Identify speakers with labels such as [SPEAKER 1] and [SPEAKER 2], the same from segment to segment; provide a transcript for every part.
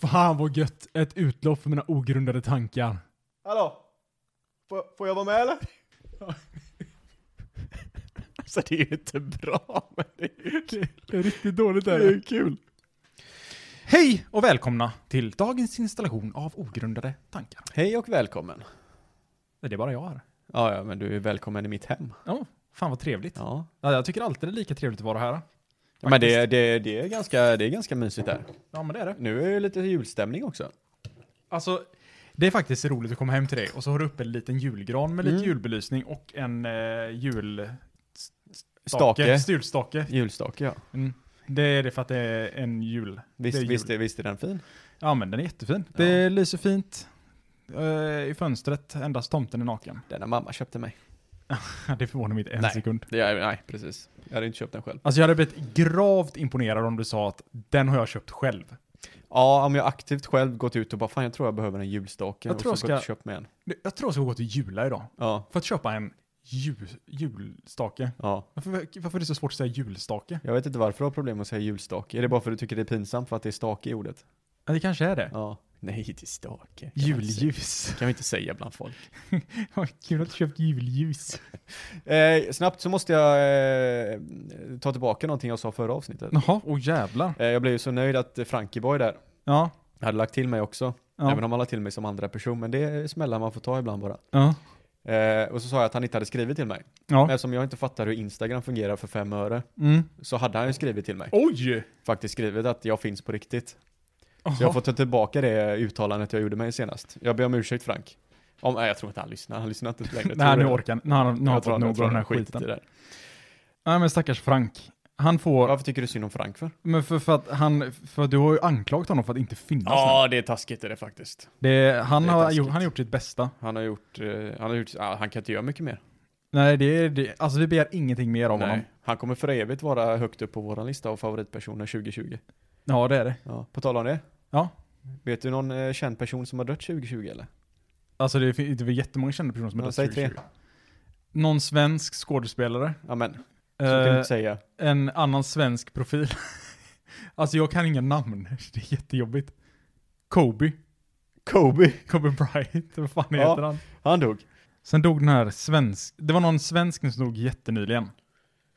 [SPEAKER 1] Fan vad gött. Ett utlopp för mina ogrundade tankar.
[SPEAKER 2] Hallå? Får, får jag vara med eller?
[SPEAKER 3] Alltså det är ju inte bra, men det är ju kul.
[SPEAKER 1] Det är riktigt dåligt
[SPEAKER 3] Det
[SPEAKER 1] där.
[SPEAKER 3] är ju kul.
[SPEAKER 1] Hej och välkomna till dagens installation av ogrundade tankar.
[SPEAKER 3] Hej och välkommen.
[SPEAKER 1] Nej, Det är bara jag här.
[SPEAKER 3] Ja, ja, men du är välkommen i mitt hem.
[SPEAKER 1] Ja, fan vad trevligt. Ja.
[SPEAKER 3] Ja.
[SPEAKER 1] jag tycker alltid det är lika trevligt att vara här.
[SPEAKER 3] Men det, det, det, är ganska, det är ganska mysigt där.
[SPEAKER 1] Ja, men det är det.
[SPEAKER 3] Nu är det lite julstämning också.
[SPEAKER 1] Alltså, det är faktiskt roligt att komma hem till dig och så har du uppe en liten julgran med lite
[SPEAKER 3] Mm.
[SPEAKER 1] julbelysning och en eh, julstake.
[SPEAKER 3] Stake.
[SPEAKER 1] Julstake.
[SPEAKER 3] Julstake, ja.
[SPEAKER 1] Mm. Det är det för att det är en jul.
[SPEAKER 3] Visst,
[SPEAKER 1] Det är
[SPEAKER 3] är,
[SPEAKER 1] jul.
[SPEAKER 3] visst, är, visst är den fin?
[SPEAKER 1] Ja, men den är jättefin.
[SPEAKER 3] Ja.
[SPEAKER 1] Det lyser fint eh, i fönstret. Endast tomten är naken.
[SPEAKER 3] Den har mamma köpte mig.
[SPEAKER 1] det förvånar mig inte en
[SPEAKER 3] Nej.
[SPEAKER 1] sekund.
[SPEAKER 3] Det är, nej, precis. Jag hade inte köpt den själv.
[SPEAKER 1] Alltså jag hade blivit gravt imponerad om du sa att den har jag köpt själv.
[SPEAKER 3] Ja, om jag aktivt själv gått ut och bara fan jag tror jag behöver en julstake
[SPEAKER 1] Jag
[SPEAKER 3] och
[SPEAKER 1] tror
[SPEAKER 3] så
[SPEAKER 1] jag
[SPEAKER 3] gått och
[SPEAKER 1] ska-
[SPEAKER 3] köpt mig en.
[SPEAKER 1] Jag tror jag ska gå till Jula idag
[SPEAKER 3] Ja,
[SPEAKER 1] för att köpa en jul, julstake.
[SPEAKER 3] ja.
[SPEAKER 1] Varför, varför är det så svårt att säga julstake?
[SPEAKER 3] Jag vet inte varför du har problem med att säga julstake. Är det bara för att du tycker det är pinsamt för att det är stake i ordet?
[SPEAKER 1] Ja, det kanske är det.
[SPEAKER 3] Ja. Nej, det är stake. Kan man inte säga.
[SPEAKER 1] Julljus.
[SPEAKER 3] Kan vi inte säga bland folk.
[SPEAKER 1] Vad kul att du köpt julljus.
[SPEAKER 3] Eh, snabbt så måste jag eh, ta tillbaka någonting jag sa förra avsnittet.
[SPEAKER 1] Jaha, åh jävlar.
[SPEAKER 3] Eh, jag blev ju så nöjd att eh, Frankieboy där
[SPEAKER 1] Ja,
[SPEAKER 3] hade lagt till mig också.
[SPEAKER 1] ja,
[SPEAKER 3] Även om han lade till mig som andra person, men det är smällar man får ta ibland bara.
[SPEAKER 1] ja.
[SPEAKER 3] Eh, och så sa jag att han inte hade skrivit till mig. Men
[SPEAKER 1] ja.
[SPEAKER 3] eftersom jag inte fattar hur Instagram fungerar för fem öre,
[SPEAKER 1] Mm.
[SPEAKER 3] så hade han ju skrivit till mig.
[SPEAKER 1] Oj!
[SPEAKER 3] Faktiskt skrivit att jag finns på riktigt. Så jag får ta tillbaka det uttalandet jag gjorde mig senast. Jag ber om ursäkt Frank. Om, nej, jag tror inte han lyssnar. Han lyssnar inte längre.
[SPEAKER 1] Nej,
[SPEAKER 3] tror
[SPEAKER 1] nu
[SPEAKER 3] jag.
[SPEAKER 1] orkar han. Nu har han nu har han
[SPEAKER 3] Jag tror
[SPEAKER 1] fått nog av
[SPEAKER 3] tror
[SPEAKER 1] den här
[SPEAKER 3] har skitit i
[SPEAKER 1] skiten.
[SPEAKER 3] det där.
[SPEAKER 1] Nej, men stackars Frank. Han får,
[SPEAKER 3] Varför tycker du synd om Frank för?
[SPEAKER 1] men för, för att han, för du har ju anklagat honom för att inte finnas
[SPEAKER 3] Ja, det är taskigt är det faktiskt.
[SPEAKER 1] där. Det, han,
[SPEAKER 3] det är
[SPEAKER 1] har,
[SPEAKER 3] taskigt.
[SPEAKER 1] gjort- han har gjort sitt bästa.
[SPEAKER 3] Han har gjort, eh, han har gjort, ah, han kan inte göra mycket mer.
[SPEAKER 1] Nej, det är, det, alltså vi begär ingenting mer av honom.
[SPEAKER 3] Han kommer för evigt vara högt upp på våran lista av favoritpersoner 2020.
[SPEAKER 1] Ja, det är det.
[SPEAKER 3] Ja. På tal om det.
[SPEAKER 1] Ja.
[SPEAKER 3] Vet du någon eh, känd person som har dött 2020 eller?
[SPEAKER 1] Alltså det finns det var jättemånga kända personer som
[SPEAKER 3] Ja,
[SPEAKER 1] har dött
[SPEAKER 3] säg tre.
[SPEAKER 1] 2020. Någon svensk skådespelare.
[SPEAKER 3] Ja men, så kan du
[SPEAKER 1] Eh,
[SPEAKER 3] inte säga.
[SPEAKER 1] en annan svensk profil. alltså jag kan inga namn, det är jättejobbigt. Kobe.
[SPEAKER 3] Kobe,
[SPEAKER 1] Kobe Bryant, vad fan
[SPEAKER 3] Ja.
[SPEAKER 1] heter han?
[SPEAKER 3] han dog.
[SPEAKER 1] Sen dog den här svensk, det var någon svensk som dog jättenyligen.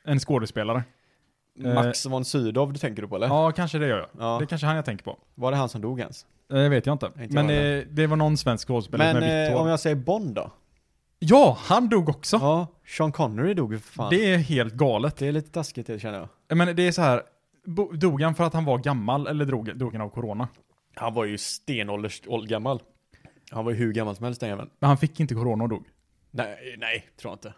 [SPEAKER 1] En skådespelare. Eh,
[SPEAKER 3] Max von Sydow du tänker du på eller?
[SPEAKER 1] Ja, kanske det gör jag.
[SPEAKER 3] Ja.
[SPEAKER 1] Det är kanske han jag tänker på.
[SPEAKER 3] Var det han som dog ens?
[SPEAKER 1] Eh, Det vet jag inte.
[SPEAKER 3] Inte
[SPEAKER 1] Men
[SPEAKER 3] jag
[SPEAKER 1] det, det var någon svensk skådespelare
[SPEAKER 3] Men
[SPEAKER 1] med vitt
[SPEAKER 3] eh,
[SPEAKER 1] hår.
[SPEAKER 3] om jag säger Bond då?
[SPEAKER 1] Ja, han dog också.
[SPEAKER 3] Ja, Sean Connery dog ju för fan. Det...
[SPEAKER 1] Det är helt galet. Eh,
[SPEAKER 3] är lite taskigt det känner jag.
[SPEAKER 1] Men det är så här, bo- dog han för att han var gammal eller drog, dog han av corona?
[SPEAKER 3] Han var ju stenålders åld- gammal. Han var ju hur gammal som helst den jäveln.
[SPEAKER 1] Men han fick inte corona och dog.
[SPEAKER 3] Nej, nej, tror jag inte.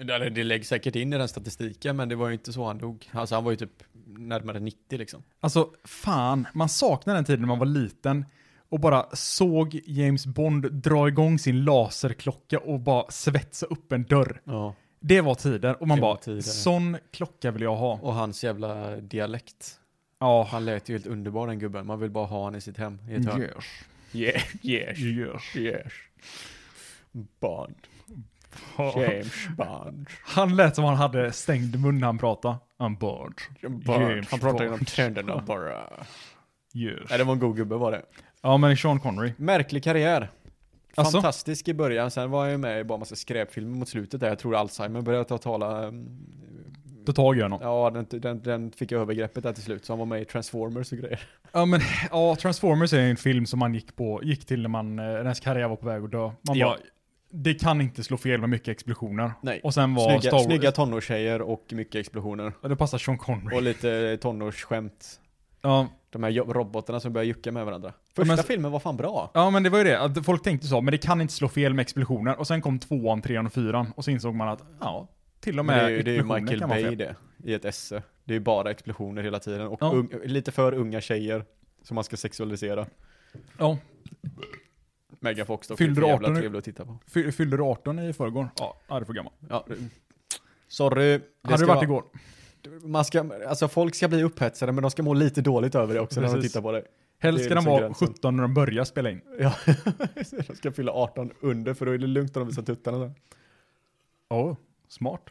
[SPEAKER 3] Eller det läggs säkert in i den statistiken, men det var ju inte så han dog. Alltså han var ju typ närmare 90 liksom.
[SPEAKER 1] Alltså, fan, man saknar den tiden när man var liten och bara såg James Bond dra igång sin laserklocka och bara svetsa upp en dörr.
[SPEAKER 3] Ja.
[SPEAKER 1] Det var tider och man
[SPEAKER 3] Det var
[SPEAKER 1] bara,
[SPEAKER 3] tider.
[SPEAKER 1] sån klocka vill jag ha.
[SPEAKER 3] Och hans jävla dialekt.
[SPEAKER 1] Ja.
[SPEAKER 3] Han lät ju helt underbar den gubben. Man vill bara ha han i sitt hem i ett hörn. Yeah, yes,
[SPEAKER 1] Yes.
[SPEAKER 3] yes. Bond.
[SPEAKER 1] Ja.
[SPEAKER 3] James Bond.
[SPEAKER 1] Han lät som han hade stängd mun när han pratade. I'm bored.
[SPEAKER 3] Bond. Han
[SPEAKER 1] Bond.
[SPEAKER 3] pratar genom tänderna bara.
[SPEAKER 1] Yes.
[SPEAKER 3] Nej, det var en god gubbe var det.
[SPEAKER 1] Ja, men Sean Connery.
[SPEAKER 3] Märklig karriär.
[SPEAKER 1] Alltså?
[SPEAKER 3] Fantastisk i början, sen var jag ju med i bara massa skräpfilmer mot slutet där. Jag tror Alzheimer började ta tala. mm,
[SPEAKER 1] Då tar jag honom.
[SPEAKER 3] Ja, den, den, den fick jag övergreppet där till slut. Så han var med i Transformers och grejer.
[SPEAKER 1] Ja, men ja, Transformers är en film som man gick, på, gick till när, man, eh, när ens karriär var på väg att dö. Man
[SPEAKER 3] Ja.
[SPEAKER 1] bara, det kan inte slå fel med mycket explosioner.
[SPEAKER 3] Nej.
[SPEAKER 1] Och sen var Star
[SPEAKER 3] Snygga,
[SPEAKER 1] Wars,
[SPEAKER 3] snygga tonårstjejer och mycket explosioner.
[SPEAKER 1] Ja, det passar Sean Connery.
[SPEAKER 3] Och lite tonårsskämt.
[SPEAKER 1] Ja,
[SPEAKER 3] De här jo- robotarna som börjar jucka med varandra.
[SPEAKER 1] men
[SPEAKER 3] Första
[SPEAKER 1] så-
[SPEAKER 3] filmen var fan bra.
[SPEAKER 1] ja, men det var ju det. Att folk tänkte så, men det kan inte slå fel med explosioner. Och sen kom tvåan, trean och fyran. Och så insåg man att, ja, till och
[SPEAKER 3] Men det
[SPEAKER 1] med
[SPEAKER 3] är ju, det är ju
[SPEAKER 1] explosioner
[SPEAKER 3] Michael
[SPEAKER 1] kan vara
[SPEAKER 3] Bay
[SPEAKER 1] fel.
[SPEAKER 3] det, i ett esse. Det är ju bara explosioner hela tiden. Och
[SPEAKER 1] Ja.
[SPEAKER 3] ung, lite för unga tjejer som man ska sexualisera.
[SPEAKER 1] Ja,
[SPEAKER 3] Megan Fox dock,
[SPEAKER 1] Fyllde
[SPEAKER 3] är jävla
[SPEAKER 1] 18 nu.
[SPEAKER 3] trevlig att titta på.
[SPEAKER 1] fy- fyllde du 18 i förrgår? Ja, ja, det är för gammal.
[SPEAKER 3] Ja. Sorry. Det
[SPEAKER 1] Hade
[SPEAKER 3] ska
[SPEAKER 1] du varit
[SPEAKER 3] vara-
[SPEAKER 1] igår?
[SPEAKER 3] Man ska, alltså folk ska bli upphetsade men de ska må lite dåligt över det också när de
[SPEAKER 1] Precis.
[SPEAKER 3] tittar på det.
[SPEAKER 1] Helst
[SPEAKER 3] det är
[SPEAKER 1] ska den
[SPEAKER 3] liksom
[SPEAKER 1] vara
[SPEAKER 3] gränsen.
[SPEAKER 1] 17 när de börjar spela in.
[SPEAKER 3] Ja. de ska fylla 18 under för då är det lugnt när de visar tuttarna. sen.
[SPEAKER 1] Ja, smart.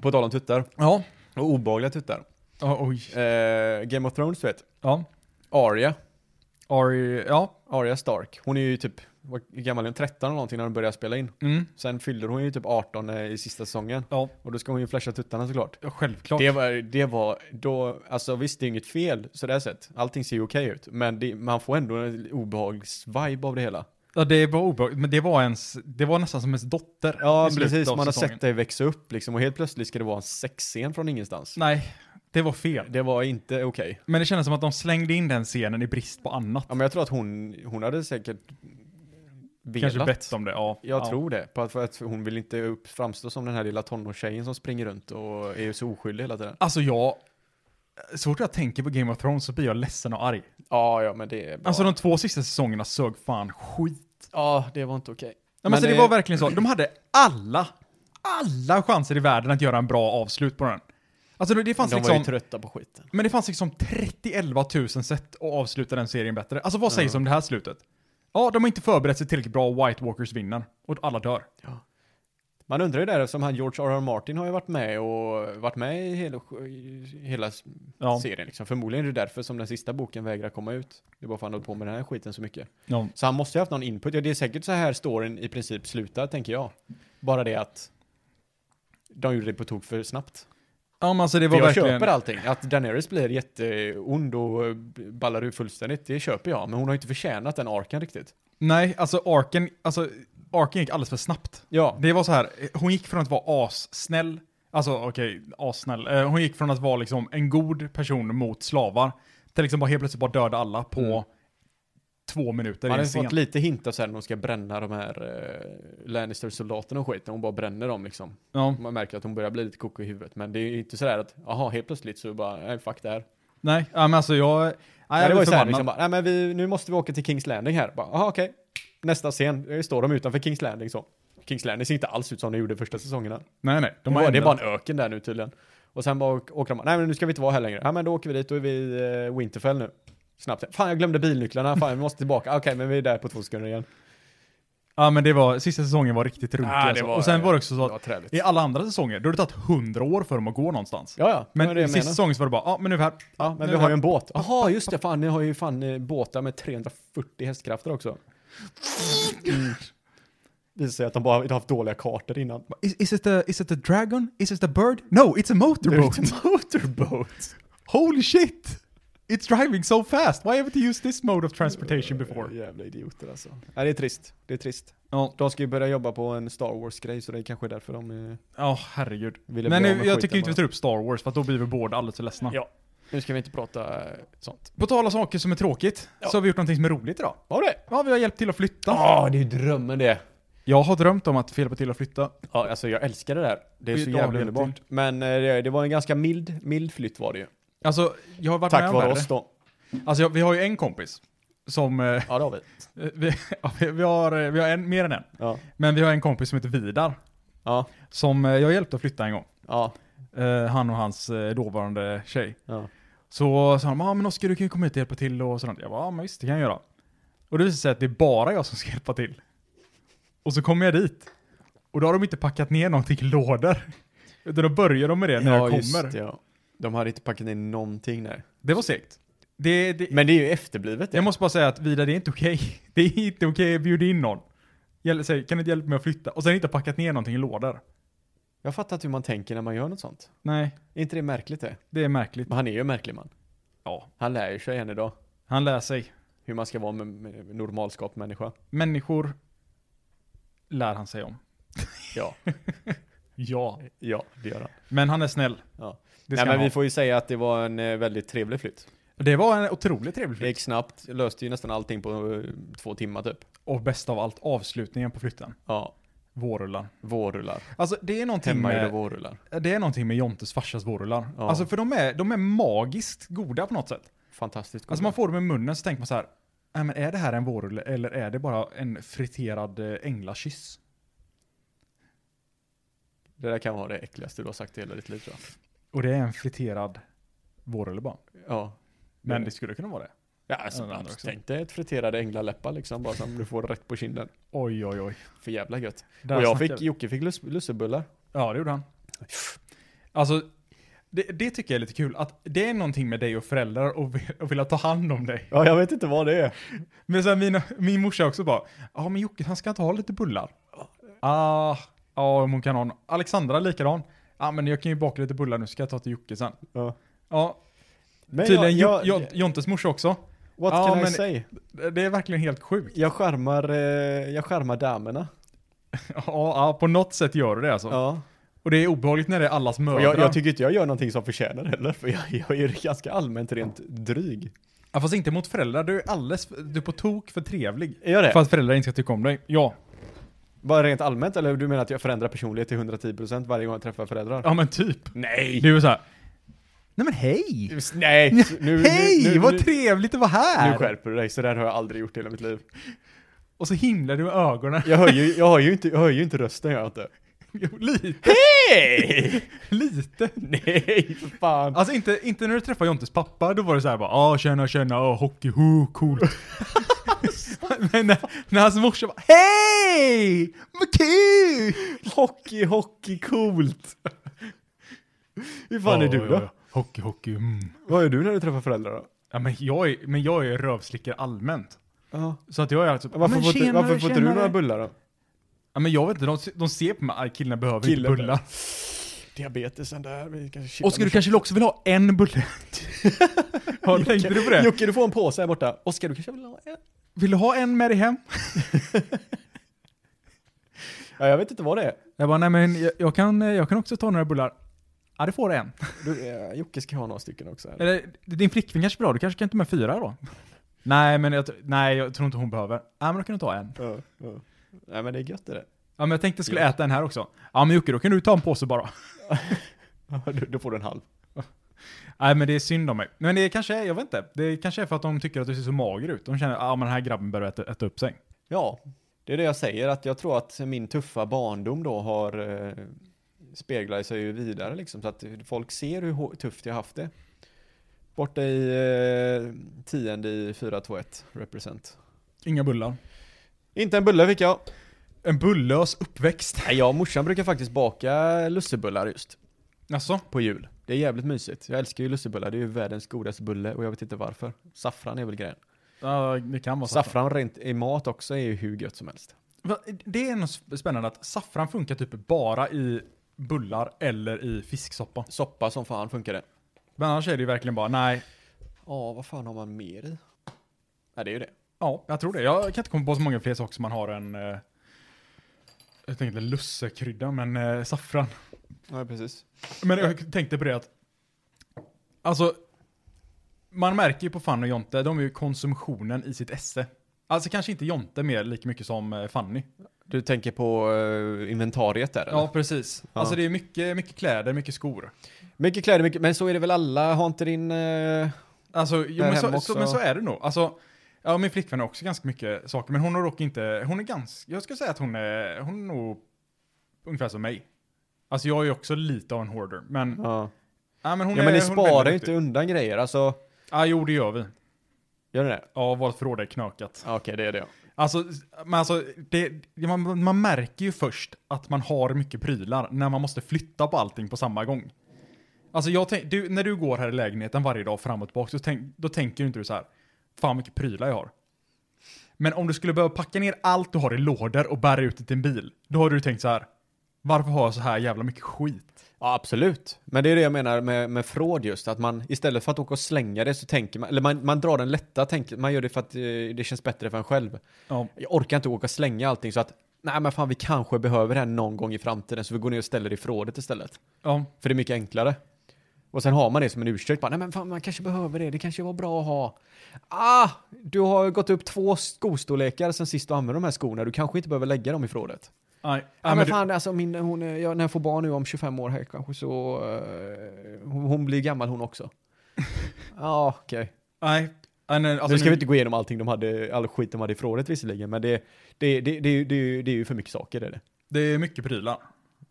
[SPEAKER 3] På tal om tuttar,
[SPEAKER 1] Ja.
[SPEAKER 3] och obehagliga tuttar.
[SPEAKER 1] Ja, oj.
[SPEAKER 3] Eh, Game of Thrones du vet,
[SPEAKER 1] Ja.
[SPEAKER 3] Arya,
[SPEAKER 1] Ari, ja.
[SPEAKER 3] Arya Stark, hon är ju typ, vad gammal är hon? 13 eller någonting när hon började spela in.
[SPEAKER 1] Mm.
[SPEAKER 3] Sen fyllde hon ju typ 18 i sista säsongen.
[SPEAKER 1] Ja,
[SPEAKER 3] Och då ska hon ju flasha tuttarna såklart.
[SPEAKER 1] ja, självklart.
[SPEAKER 3] Det var, det var då, alltså visst det är inget fel så det här sett. Allting ser ju okej ut. Men det, man får ändå en obehagsvibe av det hela.
[SPEAKER 1] Ja, det var obehagligt, men det var ens, det var nästan som ens dotter.
[SPEAKER 3] Ja
[SPEAKER 1] i slutet
[SPEAKER 3] precis,
[SPEAKER 1] av
[SPEAKER 3] man har
[SPEAKER 1] säsongen.
[SPEAKER 3] sett det växa upp liksom. Och helt plötsligt ska det vara en sexscen från ingenstans.
[SPEAKER 1] Nej, det var fel.
[SPEAKER 3] Det var inte okej.
[SPEAKER 1] Men det kändes som att de slängde in den scenen i brist på annat.
[SPEAKER 3] Ja men jag tror att hon, hon hade säkert
[SPEAKER 1] Kanske
[SPEAKER 3] velat.
[SPEAKER 1] bett om det, ja.
[SPEAKER 3] Jag
[SPEAKER 1] ja.
[SPEAKER 3] tror det, på att, för att hon vill inte upp, framstå som den här lilla tonårstjejen som springer runt och är så oskyldig hela tiden.
[SPEAKER 1] Alltså jag, så fort jag tänker på Game of Thrones så blir jag ledsen och arg.
[SPEAKER 3] Ja, ja men det är bra.
[SPEAKER 1] Alltså de två sista säsongerna sög fan skit.
[SPEAKER 3] Ja, det var inte okej.
[SPEAKER 1] Ja, men så det
[SPEAKER 3] eh,
[SPEAKER 1] var verkligen så, de hade alla, alla chanser i världen att göra en bra avslut på den. Alltså det- det fanns
[SPEAKER 3] De var ju
[SPEAKER 1] liksom,
[SPEAKER 3] trötta på skiten.
[SPEAKER 1] men det fanns liksom 30 000 sätt att avsluta den serien bättre. Alltså vad sägs om det här slutet? Ja, de har inte förberett sig tillräckligt bra och White Walkers vinner. Och alla dör.
[SPEAKER 3] Man undrar ju där eftersom han George R.R. Martin har ju varit med och varit med i hela, i hela s-
[SPEAKER 1] Ja.
[SPEAKER 3] serien liksom. Förmodligen är det därför som den sista boken vägrar komma ut. Det var för att han höll på med den här skiten så mycket.
[SPEAKER 1] Ja.
[SPEAKER 3] Så han måste ju ha haft någon input. Ja, det är säkert så här storyn i princip slutar, tänker jag. Bara det att de gjorde det på tok för snabbt.
[SPEAKER 1] Ja men alltså det
[SPEAKER 3] För
[SPEAKER 1] var
[SPEAKER 3] jag
[SPEAKER 1] verkligen...
[SPEAKER 3] köper allting. Att Daenerys blir jätteond och eh, ballar ur fullständigt, det köper jag. Men hon har ju inte förtjänat den arken riktigt.
[SPEAKER 1] Nej, alltså arken, alltså arken gick alldeles för snabbt.
[SPEAKER 3] Ja,
[SPEAKER 1] Det var så här, eh, hon gick från att vara assnäll, alltså okej, assnäll. Eh, Hon gick från att vara liksom en god person mot slavar, till liksom bara helt plötsligt bara döda alla på
[SPEAKER 3] Mm.
[SPEAKER 1] två minuter
[SPEAKER 3] man
[SPEAKER 1] i
[SPEAKER 3] har
[SPEAKER 1] en
[SPEAKER 3] ju
[SPEAKER 1] scen.
[SPEAKER 3] fått lite hintar sen när hon ska bränna de här eh, Lannister-soldaterna och skiten. Hon bara bränner dem liksom.
[SPEAKER 1] Ja,
[SPEAKER 3] Man märker att hon börjar bli lite koko i huvudet. Men det är ju inte sådär att, jaha, helt plötsligt så bara, nej, fuck det här.
[SPEAKER 1] nej, ja, men alltså jag... Nej,
[SPEAKER 3] Nej,
[SPEAKER 1] jag
[SPEAKER 3] det var
[SPEAKER 1] blev
[SPEAKER 3] ju såhär
[SPEAKER 1] förbannad.
[SPEAKER 3] liksom bara, nej men vi, nu måste vi åka till Kings Landing här. Bara, Jaha okej. Nästa scen, eh, står de utanför Kings Landing så. Kings Landing ser inte alls ut som de gjorde första säsongerna.
[SPEAKER 1] Nej, nej. De
[SPEAKER 3] De
[SPEAKER 1] har
[SPEAKER 3] det är
[SPEAKER 1] ändrat.
[SPEAKER 3] bara en öken där nu tydligen. Och sen bara å- åker de, bara, nej men nu ska vi inte vara här längre. Ja men då åker vi dit, då är vi i eh, Winterfell nu. Snabbt. Fan jag glömde bilnycklarna, fan vi måste tillbaka. Okej men vi är där på två sekunder igen.
[SPEAKER 1] Ja, men det var... Sista säsongen var riktigt runkig
[SPEAKER 3] Ah, det
[SPEAKER 1] alltså.
[SPEAKER 3] var-
[SPEAKER 1] Och sen var Ah, det också så
[SPEAKER 3] Det
[SPEAKER 1] att
[SPEAKER 3] var träligt.
[SPEAKER 1] i
[SPEAKER 3] Ja
[SPEAKER 1] alla andra säsonger, då har det tagit hundra år för dem att gå någonstans.
[SPEAKER 3] ja,
[SPEAKER 1] Men
[SPEAKER 3] det var det
[SPEAKER 1] i
[SPEAKER 3] jag
[SPEAKER 1] sista
[SPEAKER 3] menar.
[SPEAKER 1] säsongen så var det bara, ja, men nu är vi här.
[SPEAKER 3] Ja,
[SPEAKER 1] nu
[SPEAKER 3] men vi
[SPEAKER 1] är
[SPEAKER 3] har
[SPEAKER 1] här.
[SPEAKER 3] ju en båt. Jaha, just det. Fan, ni har ju fan eh, båtar med 340 hästkrafter också. Mm. Visar sig att de bara har haft dåliga kartor innan.
[SPEAKER 1] Is, is, it a, is it a dragon? Is it a bird? No, it's a motorboat.
[SPEAKER 3] It's a motorboat.
[SPEAKER 1] Holy shit! It's driving so fast. Why haven't you used this mode of transportation before?
[SPEAKER 3] Jävla idioter alltså. Nej, det är trist. Det är trist.
[SPEAKER 1] Ja,
[SPEAKER 3] De ska ju börja jobba på en Star Wars-grej, så det är kanske därför de eh,
[SPEAKER 1] ja, herregud.
[SPEAKER 3] ville
[SPEAKER 1] Men
[SPEAKER 3] bli
[SPEAKER 1] nu,
[SPEAKER 3] av med
[SPEAKER 1] jag
[SPEAKER 3] skiten
[SPEAKER 1] tycker inte vi
[SPEAKER 3] bara.
[SPEAKER 1] tar upp Star Wars för att då blir vi båda alldeles för ledsna.
[SPEAKER 3] Ja. Nu ska vi inte prata eh, sånt.
[SPEAKER 1] På tal om saker som är tråkigt
[SPEAKER 3] Ja.
[SPEAKER 1] så har vi gjort någonting som är roligt idag.
[SPEAKER 3] Var det?
[SPEAKER 1] Ja, vi har hjälpt till att flytta.
[SPEAKER 3] Ja, det är ju drömmen det.
[SPEAKER 1] Jag har drömt om att få hjälpa till att flytta.
[SPEAKER 3] Ja, alltså jag älskar det där. Det är
[SPEAKER 1] Det
[SPEAKER 3] så
[SPEAKER 1] är dagen
[SPEAKER 3] jävla underbart. Men eh, det, det var en ganska mild, mild flytt var det ju.
[SPEAKER 1] Alltså, jag har varit med
[SPEAKER 3] Tack
[SPEAKER 1] om
[SPEAKER 3] vare
[SPEAKER 1] värre.
[SPEAKER 3] oss då.
[SPEAKER 1] Alltså, jag, vi har ju en kompis som... Eh,
[SPEAKER 3] Ja, det har vi.
[SPEAKER 1] vi, ja, vi- vi har, eh, vi har en, mer än en.
[SPEAKER 3] Ja.
[SPEAKER 1] Men vi har en kompis som heter Vidar.
[SPEAKER 3] Ja.
[SPEAKER 1] Som eh, jag hjälpte att flytta en gång.
[SPEAKER 3] Ja.
[SPEAKER 1] Eh, han och hans eh, dåvarande tjej.
[SPEAKER 3] Ja.
[SPEAKER 1] Så sa de, ja ah, men Oskar du kan ju komma hit och hjälpa till och sådant. Jag bara, ja ah, men visst det kan jag göra. Och det visade sig att det är bara jag som ska hjälpa till. Och så kommer jag dit. Och då har de inte packat ner någonting i lådor. Utan då börjar de med det när jag
[SPEAKER 3] just
[SPEAKER 1] kommer.
[SPEAKER 3] det,
[SPEAKER 1] Det.
[SPEAKER 3] ja. De hade inte packat in någonting där.
[SPEAKER 1] var segt. Det, det,
[SPEAKER 3] Men det är ju efterblivet det.
[SPEAKER 1] jag måste bara säga att Vida, det är inte okej. Det är inte okej att bjuda in någon. Hjäl- säg, Kan du inte hjälpa mig att flytta? Och sen inte ha packat ner någonting i lådor.
[SPEAKER 3] Jag fattar inte hur man tänker när man gör något sånt.
[SPEAKER 1] Nej,
[SPEAKER 3] Är inte det märkligt det?
[SPEAKER 1] det är märkligt.
[SPEAKER 3] Men han är ju en märklig man.
[SPEAKER 1] Ja,
[SPEAKER 3] Han lär ju sig än idag
[SPEAKER 1] han lär sig.
[SPEAKER 3] hur man ska vara med, med normalskap människa.
[SPEAKER 1] Människor lär han sig om.
[SPEAKER 3] Ja,
[SPEAKER 1] Ja.
[SPEAKER 3] ja, det gör han.
[SPEAKER 1] Men han är snäll.
[SPEAKER 3] Ja.
[SPEAKER 1] Det
[SPEAKER 3] Nej,
[SPEAKER 1] ska
[SPEAKER 3] men
[SPEAKER 1] han
[SPEAKER 3] vi
[SPEAKER 1] ha.
[SPEAKER 3] får ju säga att det var en eh, väldigt trevlig flytt.
[SPEAKER 1] Det var en otroligt trevlig
[SPEAKER 3] Det
[SPEAKER 1] flytt.
[SPEAKER 3] gick snabbt, löste ju nästan allting på eh, två timmar typ.
[SPEAKER 1] Och bäst av allt, avslutningen på flytten.
[SPEAKER 3] Ja,
[SPEAKER 1] Vårrullar.
[SPEAKER 3] vårrullar.
[SPEAKER 1] Alltså det är någonting
[SPEAKER 3] Hemmagjorda
[SPEAKER 1] med,
[SPEAKER 3] vårrullar.
[SPEAKER 1] det är någonting med Jontes farsas vårrullar.
[SPEAKER 3] Ja.
[SPEAKER 1] Alltså för de är, de är magiskt goda på något sätt.
[SPEAKER 3] Fantastiskt
[SPEAKER 1] Alltså man får dem i munnen så tänker man så här, "Nej, men är det här en vårrulle eller är det bara en friterad eh, änglakyss?
[SPEAKER 3] Det där kan vara det äckligaste du har sagt i hela ditt liv tror jag.
[SPEAKER 1] Och det är en friterad vårrulle bara.
[SPEAKER 3] Ja.
[SPEAKER 1] Men
[SPEAKER 3] Ja.
[SPEAKER 1] det skulle kunna vara det.
[SPEAKER 3] Ja, alltså,
[SPEAKER 1] Den andra också.
[SPEAKER 3] tänk dig ett friterade änglaläppar liksom, bara som du får rätt på kinden.
[SPEAKER 1] Oj, oj, oj.
[SPEAKER 3] För jävla gött.
[SPEAKER 1] Där
[SPEAKER 3] och jag
[SPEAKER 1] snackar
[SPEAKER 3] fick,
[SPEAKER 1] vi.
[SPEAKER 3] Jocke fick lus, lussebullar.
[SPEAKER 1] Ja, det gjorde han. Alltså, Det, det tycker jag är lite kul, att det är någonting med dig och föräldrar och, vill- och vilja ta hand om dig.
[SPEAKER 3] Ja, jag vet inte vad det är.
[SPEAKER 1] Men så här, mina, min morsa också bara, ja men Jocke han ska inte ha lite bullar. Ah, ja om hon kan ha en. Alexandra likadan. Ja ah, men jag kan ju baka lite bullar nu, ska jag ta till Jocke sen.
[SPEAKER 3] Ja.
[SPEAKER 1] Ja,
[SPEAKER 3] Men
[SPEAKER 1] tydligen
[SPEAKER 3] jag, jag,
[SPEAKER 1] Jo- Jo- Jontes morsa också.
[SPEAKER 3] what
[SPEAKER 1] ja,
[SPEAKER 3] can I
[SPEAKER 1] men-
[SPEAKER 3] say?
[SPEAKER 1] Det är verkligen helt sjukt.
[SPEAKER 3] Jag skärmar, eh, jag skärmar damerna.
[SPEAKER 1] Ja, ja, på något sätt gör du det alltså.
[SPEAKER 3] Ja.
[SPEAKER 1] Och det är obehagligt när det är allas
[SPEAKER 3] Och
[SPEAKER 1] mödrar.
[SPEAKER 3] jag, jag tycker inte jag gör någonting som förtjänar heller, för jag, jag är ganska allmänt rent dryg.
[SPEAKER 1] ja, fast inte mot föräldrar, du är alldeles, du är på tok för trevlig.
[SPEAKER 3] Är jag det?
[SPEAKER 1] För att föräldrar inte ska tycka om dig. Ja,
[SPEAKER 3] Bara rent allmänt, eller du menar att jag förändrar personlighet till 110% varje gång jag träffar föräldrar?
[SPEAKER 1] ja men typ.
[SPEAKER 3] Nej!
[SPEAKER 1] Du är så här. Nej men hej!
[SPEAKER 3] Nej! Nu, nu,
[SPEAKER 1] hej,
[SPEAKER 3] nu,
[SPEAKER 1] vad
[SPEAKER 3] nu,
[SPEAKER 1] trevligt att vara här!
[SPEAKER 3] nu skärper du dig, så där har jag aldrig gjort i hela mitt liv.
[SPEAKER 1] Och så himlar du med ögonen.
[SPEAKER 3] Jag hör ju, jag hör ju, inte, jag hör ju inte rösten, gör jag inte.
[SPEAKER 1] Jo, lite,
[SPEAKER 3] Hej!
[SPEAKER 1] lite.
[SPEAKER 3] Nej, för fan.
[SPEAKER 1] Alltså inte, inte när du träffade Jontes pappa, då var det så här bara ah tjena tjena, oh, hockey, ho, coolt. Men när, när hans morsa bara hej, vad kul!
[SPEAKER 3] Hockey, hockey, coolt. Hur fan är
[SPEAKER 1] Ja,
[SPEAKER 3] du
[SPEAKER 1] ja,
[SPEAKER 3] då?
[SPEAKER 1] ja. Hockey, hockey, mm.
[SPEAKER 3] Vad är du när du träffar föräldrar då?
[SPEAKER 1] Ja, men, jag är, men jag är rövslickare allmänt.
[SPEAKER 3] Ja.
[SPEAKER 1] Så att jag är alltså,
[SPEAKER 3] Varför,
[SPEAKER 1] men
[SPEAKER 3] får, inte-
[SPEAKER 1] tjenare,
[SPEAKER 3] varför får inte du
[SPEAKER 1] tjenare.
[SPEAKER 3] några bullar då?
[SPEAKER 1] Ja men jag vet inte, de, de ser på mig, "Aj, killarna behöver
[SPEAKER 3] Killar
[SPEAKER 1] inte bullar.
[SPEAKER 3] Diabetesen där, vi kanske chillar
[SPEAKER 1] Oskar
[SPEAKER 3] med
[SPEAKER 1] du kanske också vill ha en bulle? ja, tänkte du på det?
[SPEAKER 3] Jocke, du får en påse här borta. Oskar, du kanske vill ha en?
[SPEAKER 1] Vill du ha en med dig hem?
[SPEAKER 3] Ja, jag vet inte vad det är.
[SPEAKER 1] Jag bara, nej men jag, jag, kan, eh, jag kan också ta några bullar. Ja, det får du en.
[SPEAKER 3] Du, eh, Jocke ska ha några stycken också. Här.
[SPEAKER 1] Eller, din flickvän kanske bra, du kanske kan ta med fyra då? nej, men jag, tr- nej, jag tror inte hon behöver. Ja, men då kan du ta en.
[SPEAKER 3] Ja, ja. Nej, men det är gött är det.
[SPEAKER 1] Ja, men jag tänkte jag skulle äta en här också. Ja, men Jocke, då kan du ta en påse bara.
[SPEAKER 3] Ja, då- Då får du en halv.
[SPEAKER 1] Nej, men det är synd om mig. Men det kanske är, jag vet inte. Det kanske är för att de tycker att du ser så mager ut. De känner, ja ah, men den här grabben börjar äta, äta upp sig.
[SPEAKER 3] Ja, det är det jag säger. Att jag tror att min tuffa barndom då har eh, speglar sig ju vidare liksom. Så att folk ser hur hå- tufft jag haft det. Borta i eh, tionde i 421 represent.
[SPEAKER 1] Inga bullar.
[SPEAKER 3] Inte en bulle fick jag.
[SPEAKER 1] En bullös uppväxt.
[SPEAKER 3] Nej, jag och morsan brukar faktiskt baka lussebullar just.
[SPEAKER 1] Alltså,
[SPEAKER 3] på jul. Det är jävligt mysigt. Jag älskar ju lussebullar, det är ju världens godaste bulle och jag vet inte varför. Saffran är väl grejen.
[SPEAKER 1] ja, det kan vara saffran.
[SPEAKER 3] Saffran rent i mat också är ju hur gött som helst.
[SPEAKER 1] Va, Det är något spännande att saffran funkar typ bara i bullar eller i fisksoppa.
[SPEAKER 3] Soppa som fan funkar det.
[SPEAKER 1] Men annars är det ju verkligen bara, nej,
[SPEAKER 3] Ja, vad fan har man mer i? Ja, det är ju det.
[SPEAKER 1] Ja, jag tror det. Jag kan inte komma på så många fler saker som man har än... Eh, jag tänkte lussekrydda, men eh, saffran.
[SPEAKER 3] Ja, precis.
[SPEAKER 1] Men jag tänkte på det att... Alltså, man märker ju på Fanny och Jonte, de är ju konsumtionen i sitt esse. Alltså kanske inte Jonte mer lika mycket som eh, Fanny.
[SPEAKER 3] Du tänker på eh, inventariet där eller?
[SPEAKER 1] Ja, precis. Alltså det är mycket, mycket kläder, mycket skor.
[SPEAKER 3] Mycket kläder, mycket, men så är det väl alla? Har inte din... eh,
[SPEAKER 1] Alltså, jo,
[SPEAKER 3] Där
[SPEAKER 1] men,
[SPEAKER 3] hemma
[SPEAKER 1] så,
[SPEAKER 3] också.
[SPEAKER 1] så, men så är det nog. Alltså, ja, min flickvän har också ganska mycket saker, men hon har dock inte, hon är ganska, jag skulle säga att hon är, hon är nog ungefär som mig. Alltså jag är ju också lite av en hoarder, men,
[SPEAKER 3] Ja.
[SPEAKER 1] ja, men hon
[SPEAKER 3] ja,
[SPEAKER 1] är
[SPEAKER 3] men ni
[SPEAKER 1] hon är väldigt
[SPEAKER 3] sparar ju
[SPEAKER 1] duktig.
[SPEAKER 3] inte undan grejer, alltså.
[SPEAKER 1] Ja, jo det gör vi.
[SPEAKER 3] Gör ni det?
[SPEAKER 1] Ja, vårt förråd är knökat.
[SPEAKER 3] Ja, Okej, det är det. ja.
[SPEAKER 1] Alltså, men alltså, det, man, man märker ju först att man har mycket prylar när man måste flytta på allting på samma gång. Alltså jag tänk, du, när du går här i lägenheten varje dag fram och tillbaka, så tänk, då tänker ju inte du så här, fan vad mycket prylar jag har. Men om du skulle behöva packa ner allt du har i lådor och bära ut det till en bil, då har du tänkt så här, varför har jag så här jävla mycket skit?
[SPEAKER 3] Ja, absolut. Men det är det jag menar med, med fråd just, att man istället för att åka och slänga det så tänker man, eller man, man drar den lätta, tänker, man gör det för att eh, det känns bättre för en själv.
[SPEAKER 1] Ja.
[SPEAKER 3] Jag orkar inte åka och slänga allting så att, nej men fan vi kanske behöver det här någon gång i framtiden så vi går ner och ställer det i frådet istället.
[SPEAKER 1] ja.
[SPEAKER 3] För det är mycket enklare. Och sen har man det som en ursäkt, bara, nej men fan man kanske behöver det, det kanske var bra att ha. Ah, du har gått upp två skostorlekar sen sist du använde de här skorna, du kanske inte behöver lägga dem i frådet.
[SPEAKER 1] Nej,
[SPEAKER 3] Ja,
[SPEAKER 1] nej,
[SPEAKER 3] men
[SPEAKER 1] du-
[SPEAKER 3] fan, alltså min, hon, är- jag, när jag får barn nu om 25 år här kanske så, eh, hon, hon blir gammal hon också. Ja, okej.
[SPEAKER 1] nej, nej, nej, alltså
[SPEAKER 3] nu ska
[SPEAKER 1] nu-
[SPEAKER 3] vi inte gå igenom allting de hade, all skit de hade i förrådet visserligen, men det, det, det, det, är ju- det, är ju- det är ju för mycket saker det är det.
[SPEAKER 1] Det är mycket prylar.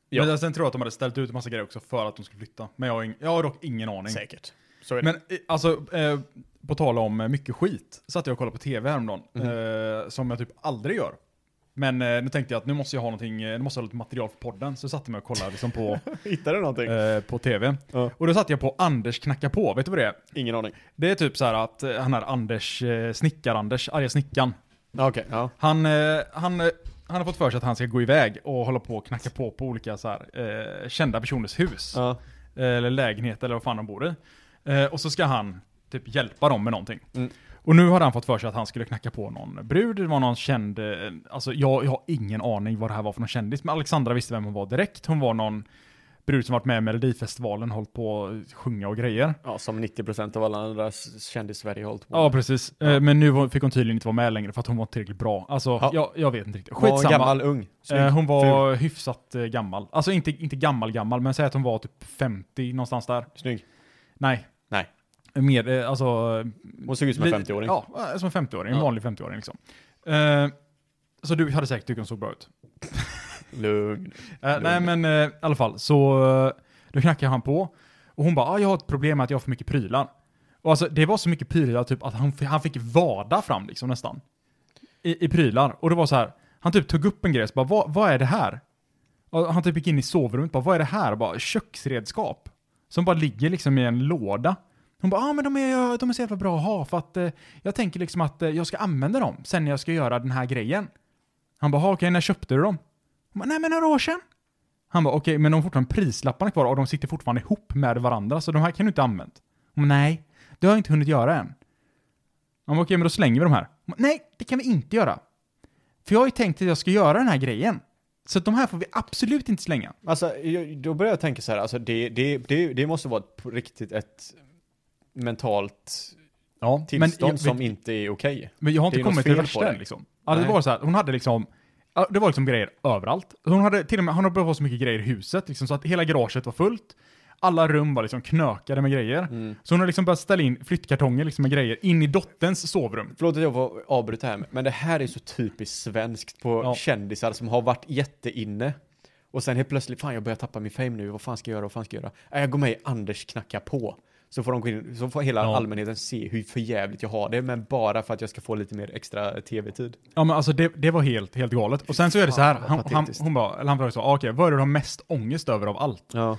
[SPEAKER 3] Ja.
[SPEAKER 1] Men sen tror jag att de hade ställt ut en massa grejer också för att de skulle flytta. Men jag har, ing- jag har dock ingen aning.
[SPEAKER 3] Säkert. Så är det.
[SPEAKER 1] Men eh, alltså, eh,
[SPEAKER 3] Mhm.
[SPEAKER 1] på tal om eh, mycket skit, satt jag och kollade på tv häromdagen, eh, som jag typ aldrig gör. Men eh, nu tänkte jag att nu måste jag ha någonting, eh, nu måste jag ha lite material för podden. Så jag satte mig och kollade liksom på,
[SPEAKER 3] Hittade du någonting?
[SPEAKER 1] eh, på tv.
[SPEAKER 3] Ja.
[SPEAKER 1] Och då satte jag på Anders knackar på, vet du vad det är?
[SPEAKER 3] Ingen aning.
[SPEAKER 1] Det är typ så här att eh, han är Anders, eh, snickar-Anders, arga snickan.
[SPEAKER 3] Okej, ja.
[SPEAKER 1] Han, eh, han, eh, han har fått för sig att han ska gå iväg och hålla på och knacka på på olika så här, eh, kända personers hus.
[SPEAKER 3] ja.
[SPEAKER 1] Eh, Eller lägenhet eller vad fan de bor i. Eh, och så ska han typ hjälpa dem med någonting.
[SPEAKER 3] Mm.
[SPEAKER 1] Och nu har han fått för sig att han skulle knacka på någon brud, det var någon känd, eh, alltså jag, jag har ingen aning vad det här var för någon kändis, men Alexandra visste vem hon var direkt. Hon var någon brud som varit med i Melodifestivalen, hållit på att sjunga och grejer.
[SPEAKER 3] Ja, som 90% av alla andra s- kändis-Sverige har hållit på
[SPEAKER 1] Ja, precis. Eh, Men nu var- fick hon tydligen inte vara med längre för att hon var inte tillräckligt bra. Alltså,
[SPEAKER 3] Ja.
[SPEAKER 1] jag, jag vet inte riktigt.
[SPEAKER 3] Var hon
[SPEAKER 1] Skitsamma.
[SPEAKER 3] gammal, ung, snygg,
[SPEAKER 1] Eh, hon var hyfsat eh, gammal. Alltså inte, inte gammal gammal, men säg att hon var typ 50 någonstans där.
[SPEAKER 3] ful, snygg.
[SPEAKER 1] Nej.
[SPEAKER 3] Nej.
[SPEAKER 1] Mer, eh, alltså...
[SPEAKER 3] Hon såg ut som en
[SPEAKER 1] li-
[SPEAKER 3] 50-åring.
[SPEAKER 1] Ja, eh, som en 50-åring. En
[SPEAKER 3] Ja.
[SPEAKER 1] vanlig 50-åring liksom. Eh, så du hade säkert tyckt hon såg bra ut.
[SPEAKER 3] Lugn.
[SPEAKER 1] Eh, nej men eh, i alla fall, så eh, då knackade han på. Och hon bara, ah, jag har ett problem med att jag har för mycket prylar. Och alltså det var så mycket prylar typ att han, f- han fick vada fram liksom nästan. I, I prylar. Och det var så här, han typ tog upp en grej och så bara, vad, vad är det här? Och han typ gick in i sovrummet bara, vad är det här? Och bara, köksredskap. Som bara ligger liksom i en låda. Hon bara, ah, men de är, de är så jävla bra att ha för att eh, jag tänker liksom att eh, jag ska använda dem sen när jag ska göra den här grejen. Han bara, "Ah, okej, när köpte du dem? Hon bara, nej men några år sedan. Han bara, okej, men de har fortfarande prislapparna kvar och de sitter fortfarande ihop med varandra, så de här kan du inte ha använt. Hon bara, nej, det har jag inte hunnit göra än. Han bara, okej, men då slänger vi de här. Hon bara, nej, det kan vi inte göra. För jag har ju tänkt att jag ska göra den här grejen. Så att de här får vi absolut inte slänga.
[SPEAKER 3] Alltså, jag- då börjar jag tänka så här, alltså det, det, det, det måste vara ett- på riktigt ett mentalt
[SPEAKER 1] Ja, men
[SPEAKER 3] tillstånd
[SPEAKER 1] jag,
[SPEAKER 3] som inte är okej.
[SPEAKER 1] men jag har
[SPEAKER 3] det
[SPEAKER 1] inte
[SPEAKER 3] är något
[SPEAKER 1] kommit till
[SPEAKER 3] fel på
[SPEAKER 1] värsta
[SPEAKER 3] det.
[SPEAKER 1] än, liksom. Ja, det
[SPEAKER 3] Nej.
[SPEAKER 1] var så här, hon hade liksom, ja, det var liksom grejer överallt. Hon hade till och med, hon hade behövt ha så mycket grejer i huset, liksom, så att hela garaget var fullt. Alla rum var liksom knökade med grejer.
[SPEAKER 3] Mm.
[SPEAKER 1] Så hon har liksom börjat ställa in flyttkartonger liksom med grejer in i dotterns sovrum.
[SPEAKER 3] Förlåt att jag får avbryta här, men det här är så typiskt svenskt på
[SPEAKER 1] Ja.
[SPEAKER 3] kändisar som har varit jätteinne. Och sen helt plötsligt, fan jag börjar tappa min fame nu, vad fan ska jag göra, vad fan ska jag göra? Nej, jag går med i Anders knacka på. Så får, de gå in, så får hela
[SPEAKER 1] Ja.
[SPEAKER 3] allmänheten se hur förjävligt jag har det, men bara för att jag ska få lite mer extra tv-tid.
[SPEAKER 1] Ja men alltså det, det var helt, helt galet. Och sen så är det så här,
[SPEAKER 3] Fan, vad
[SPEAKER 1] han, han,
[SPEAKER 3] patetiskt.
[SPEAKER 1] hon bara, eller han frågade så, ah, okej, vad är det du har mest ångest över av allt?
[SPEAKER 3] Ja.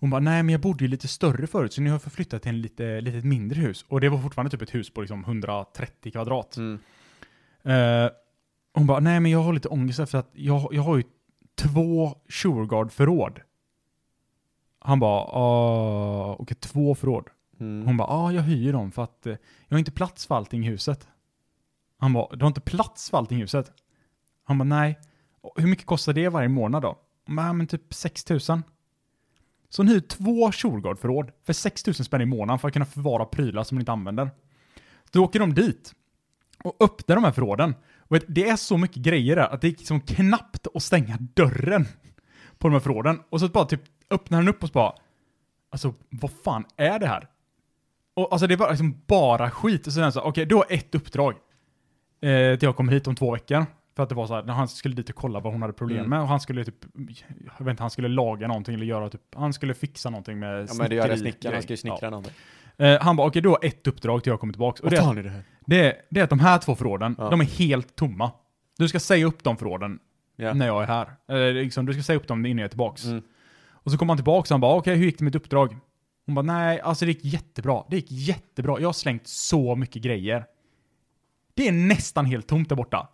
[SPEAKER 1] Hon bara, nej men jag bodde ju lite större förut, så nu har jag förflyttat till ett lite, litet mindre hus. Och det var fortfarande typ ett hus på liksom 130 kvadrat.
[SPEAKER 3] Mm.
[SPEAKER 1] Eh, hon bara, nej men jag har lite ångest för att jag, jag har ju två Shurgard-förråd. Han bara, ah, okej två förråd.
[SPEAKER 3] Mm.
[SPEAKER 1] Hon bara, ja jag hyr dem för att eh, jag har inte plats för allting i huset. Han bara, du har inte plats för allting i huset? Han bara, nej. "Och Hur mycket kostar det varje månad då? Hon bara, "Ja, men typ 6 000. Så hon hyr två Shurgard-förråd för 6 000 spänn i månaden för att kunna förvara prylar som hon inte använder. Då åker de dit och öppnar de här förråden. Och vet, det är så mycket grejer där att det gick liksom knappt att stänga dörren på de här förråden. Och så bara typ öppnar han upp och så bara, alltså vad fan är det här? Och alltså det är bara, liksom bara skit. Och sen så, okej, du har ett uppdrag. Eh, till jag kommer hit om två veckor. För att det var så här, när han skulle dit och kolla vad hon hade problem
[SPEAKER 3] Mm.
[SPEAKER 1] med. Och han skulle typ, jag vet inte, han skulle laga någonting eller göra typ, han skulle fixa någonting med
[SPEAKER 3] Ja men det gör det
[SPEAKER 1] snickeri-
[SPEAKER 3] snickaren, han ska
[SPEAKER 1] grej.
[SPEAKER 3] ju snickra en annan.
[SPEAKER 1] Ja. Eh, Han bara, okej, du har ett uppdrag till jag kommer tillbaka. Och
[SPEAKER 3] Vad
[SPEAKER 1] det, är-
[SPEAKER 3] fan är det här?
[SPEAKER 1] det, är- det är att de här två förråden,
[SPEAKER 3] Ja.
[SPEAKER 1] de är helt tomma. Du ska säga upp de förråden
[SPEAKER 3] Ja.
[SPEAKER 1] när jag är här. Eller liksom, du ska säga upp dem innan jag är tillbaks.
[SPEAKER 3] Mm.
[SPEAKER 1] Och så kom han tillbaks och han bara, okej hur gick det med ditt uppdrag? Hon bara, nej, alltså det gick jättebra. Det gick jättebra. Jag har slängt så mycket grejer. Det är nästan helt tomt där borta.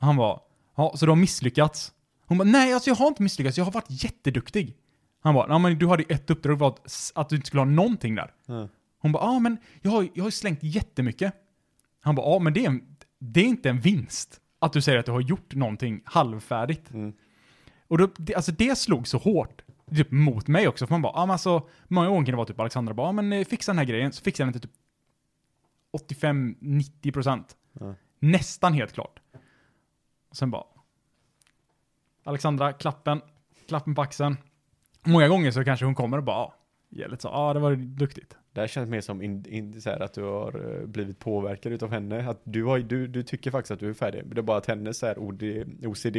[SPEAKER 1] Och han bara, ja, så du har misslyckats? Hon bara, nej, alltså jag har inte misslyckats. Jag har varit jätteduktig. Han bara, ja men du hade ju ett uppdrag, var att, s- att du inte skulle ha någonting där.
[SPEAKER 3] Ja.
[SPEAKER 1] Hon bara, ja men jag har, jag har ju slängt jättemycket. Han bara, ja men det är, en, det är inte en vinst att du säger att du har gjort någonting halvfärdigt.
[SPEAKER 3] Mm.
[SPEAKER 1] Och då, det, alltså det slog så hårt typ, mot mig också, för man bara, ja men alltså, många gånger kan det vara typ Alexandra bara, ja men eh, fixa den här grejen, så fixar den inte typ 85-90 procent.
[SPEAKER 3] Ja.
[SPEAKER 1] Nästan helt klart. Och sen bara, Alexandra, klappen, klappen på axeln. Många gånger så kanske hon kommer och bara, ja, ger lite så, ja det var duktigt.
[SPEAKER 3] Det här känns mer som in, in, så här, att du har eh, blivit påverkad utav henne. Att du, har, ju- du, du tycker faktiskt att du är färdig. Men det är bara att hennes så här, OD, OCD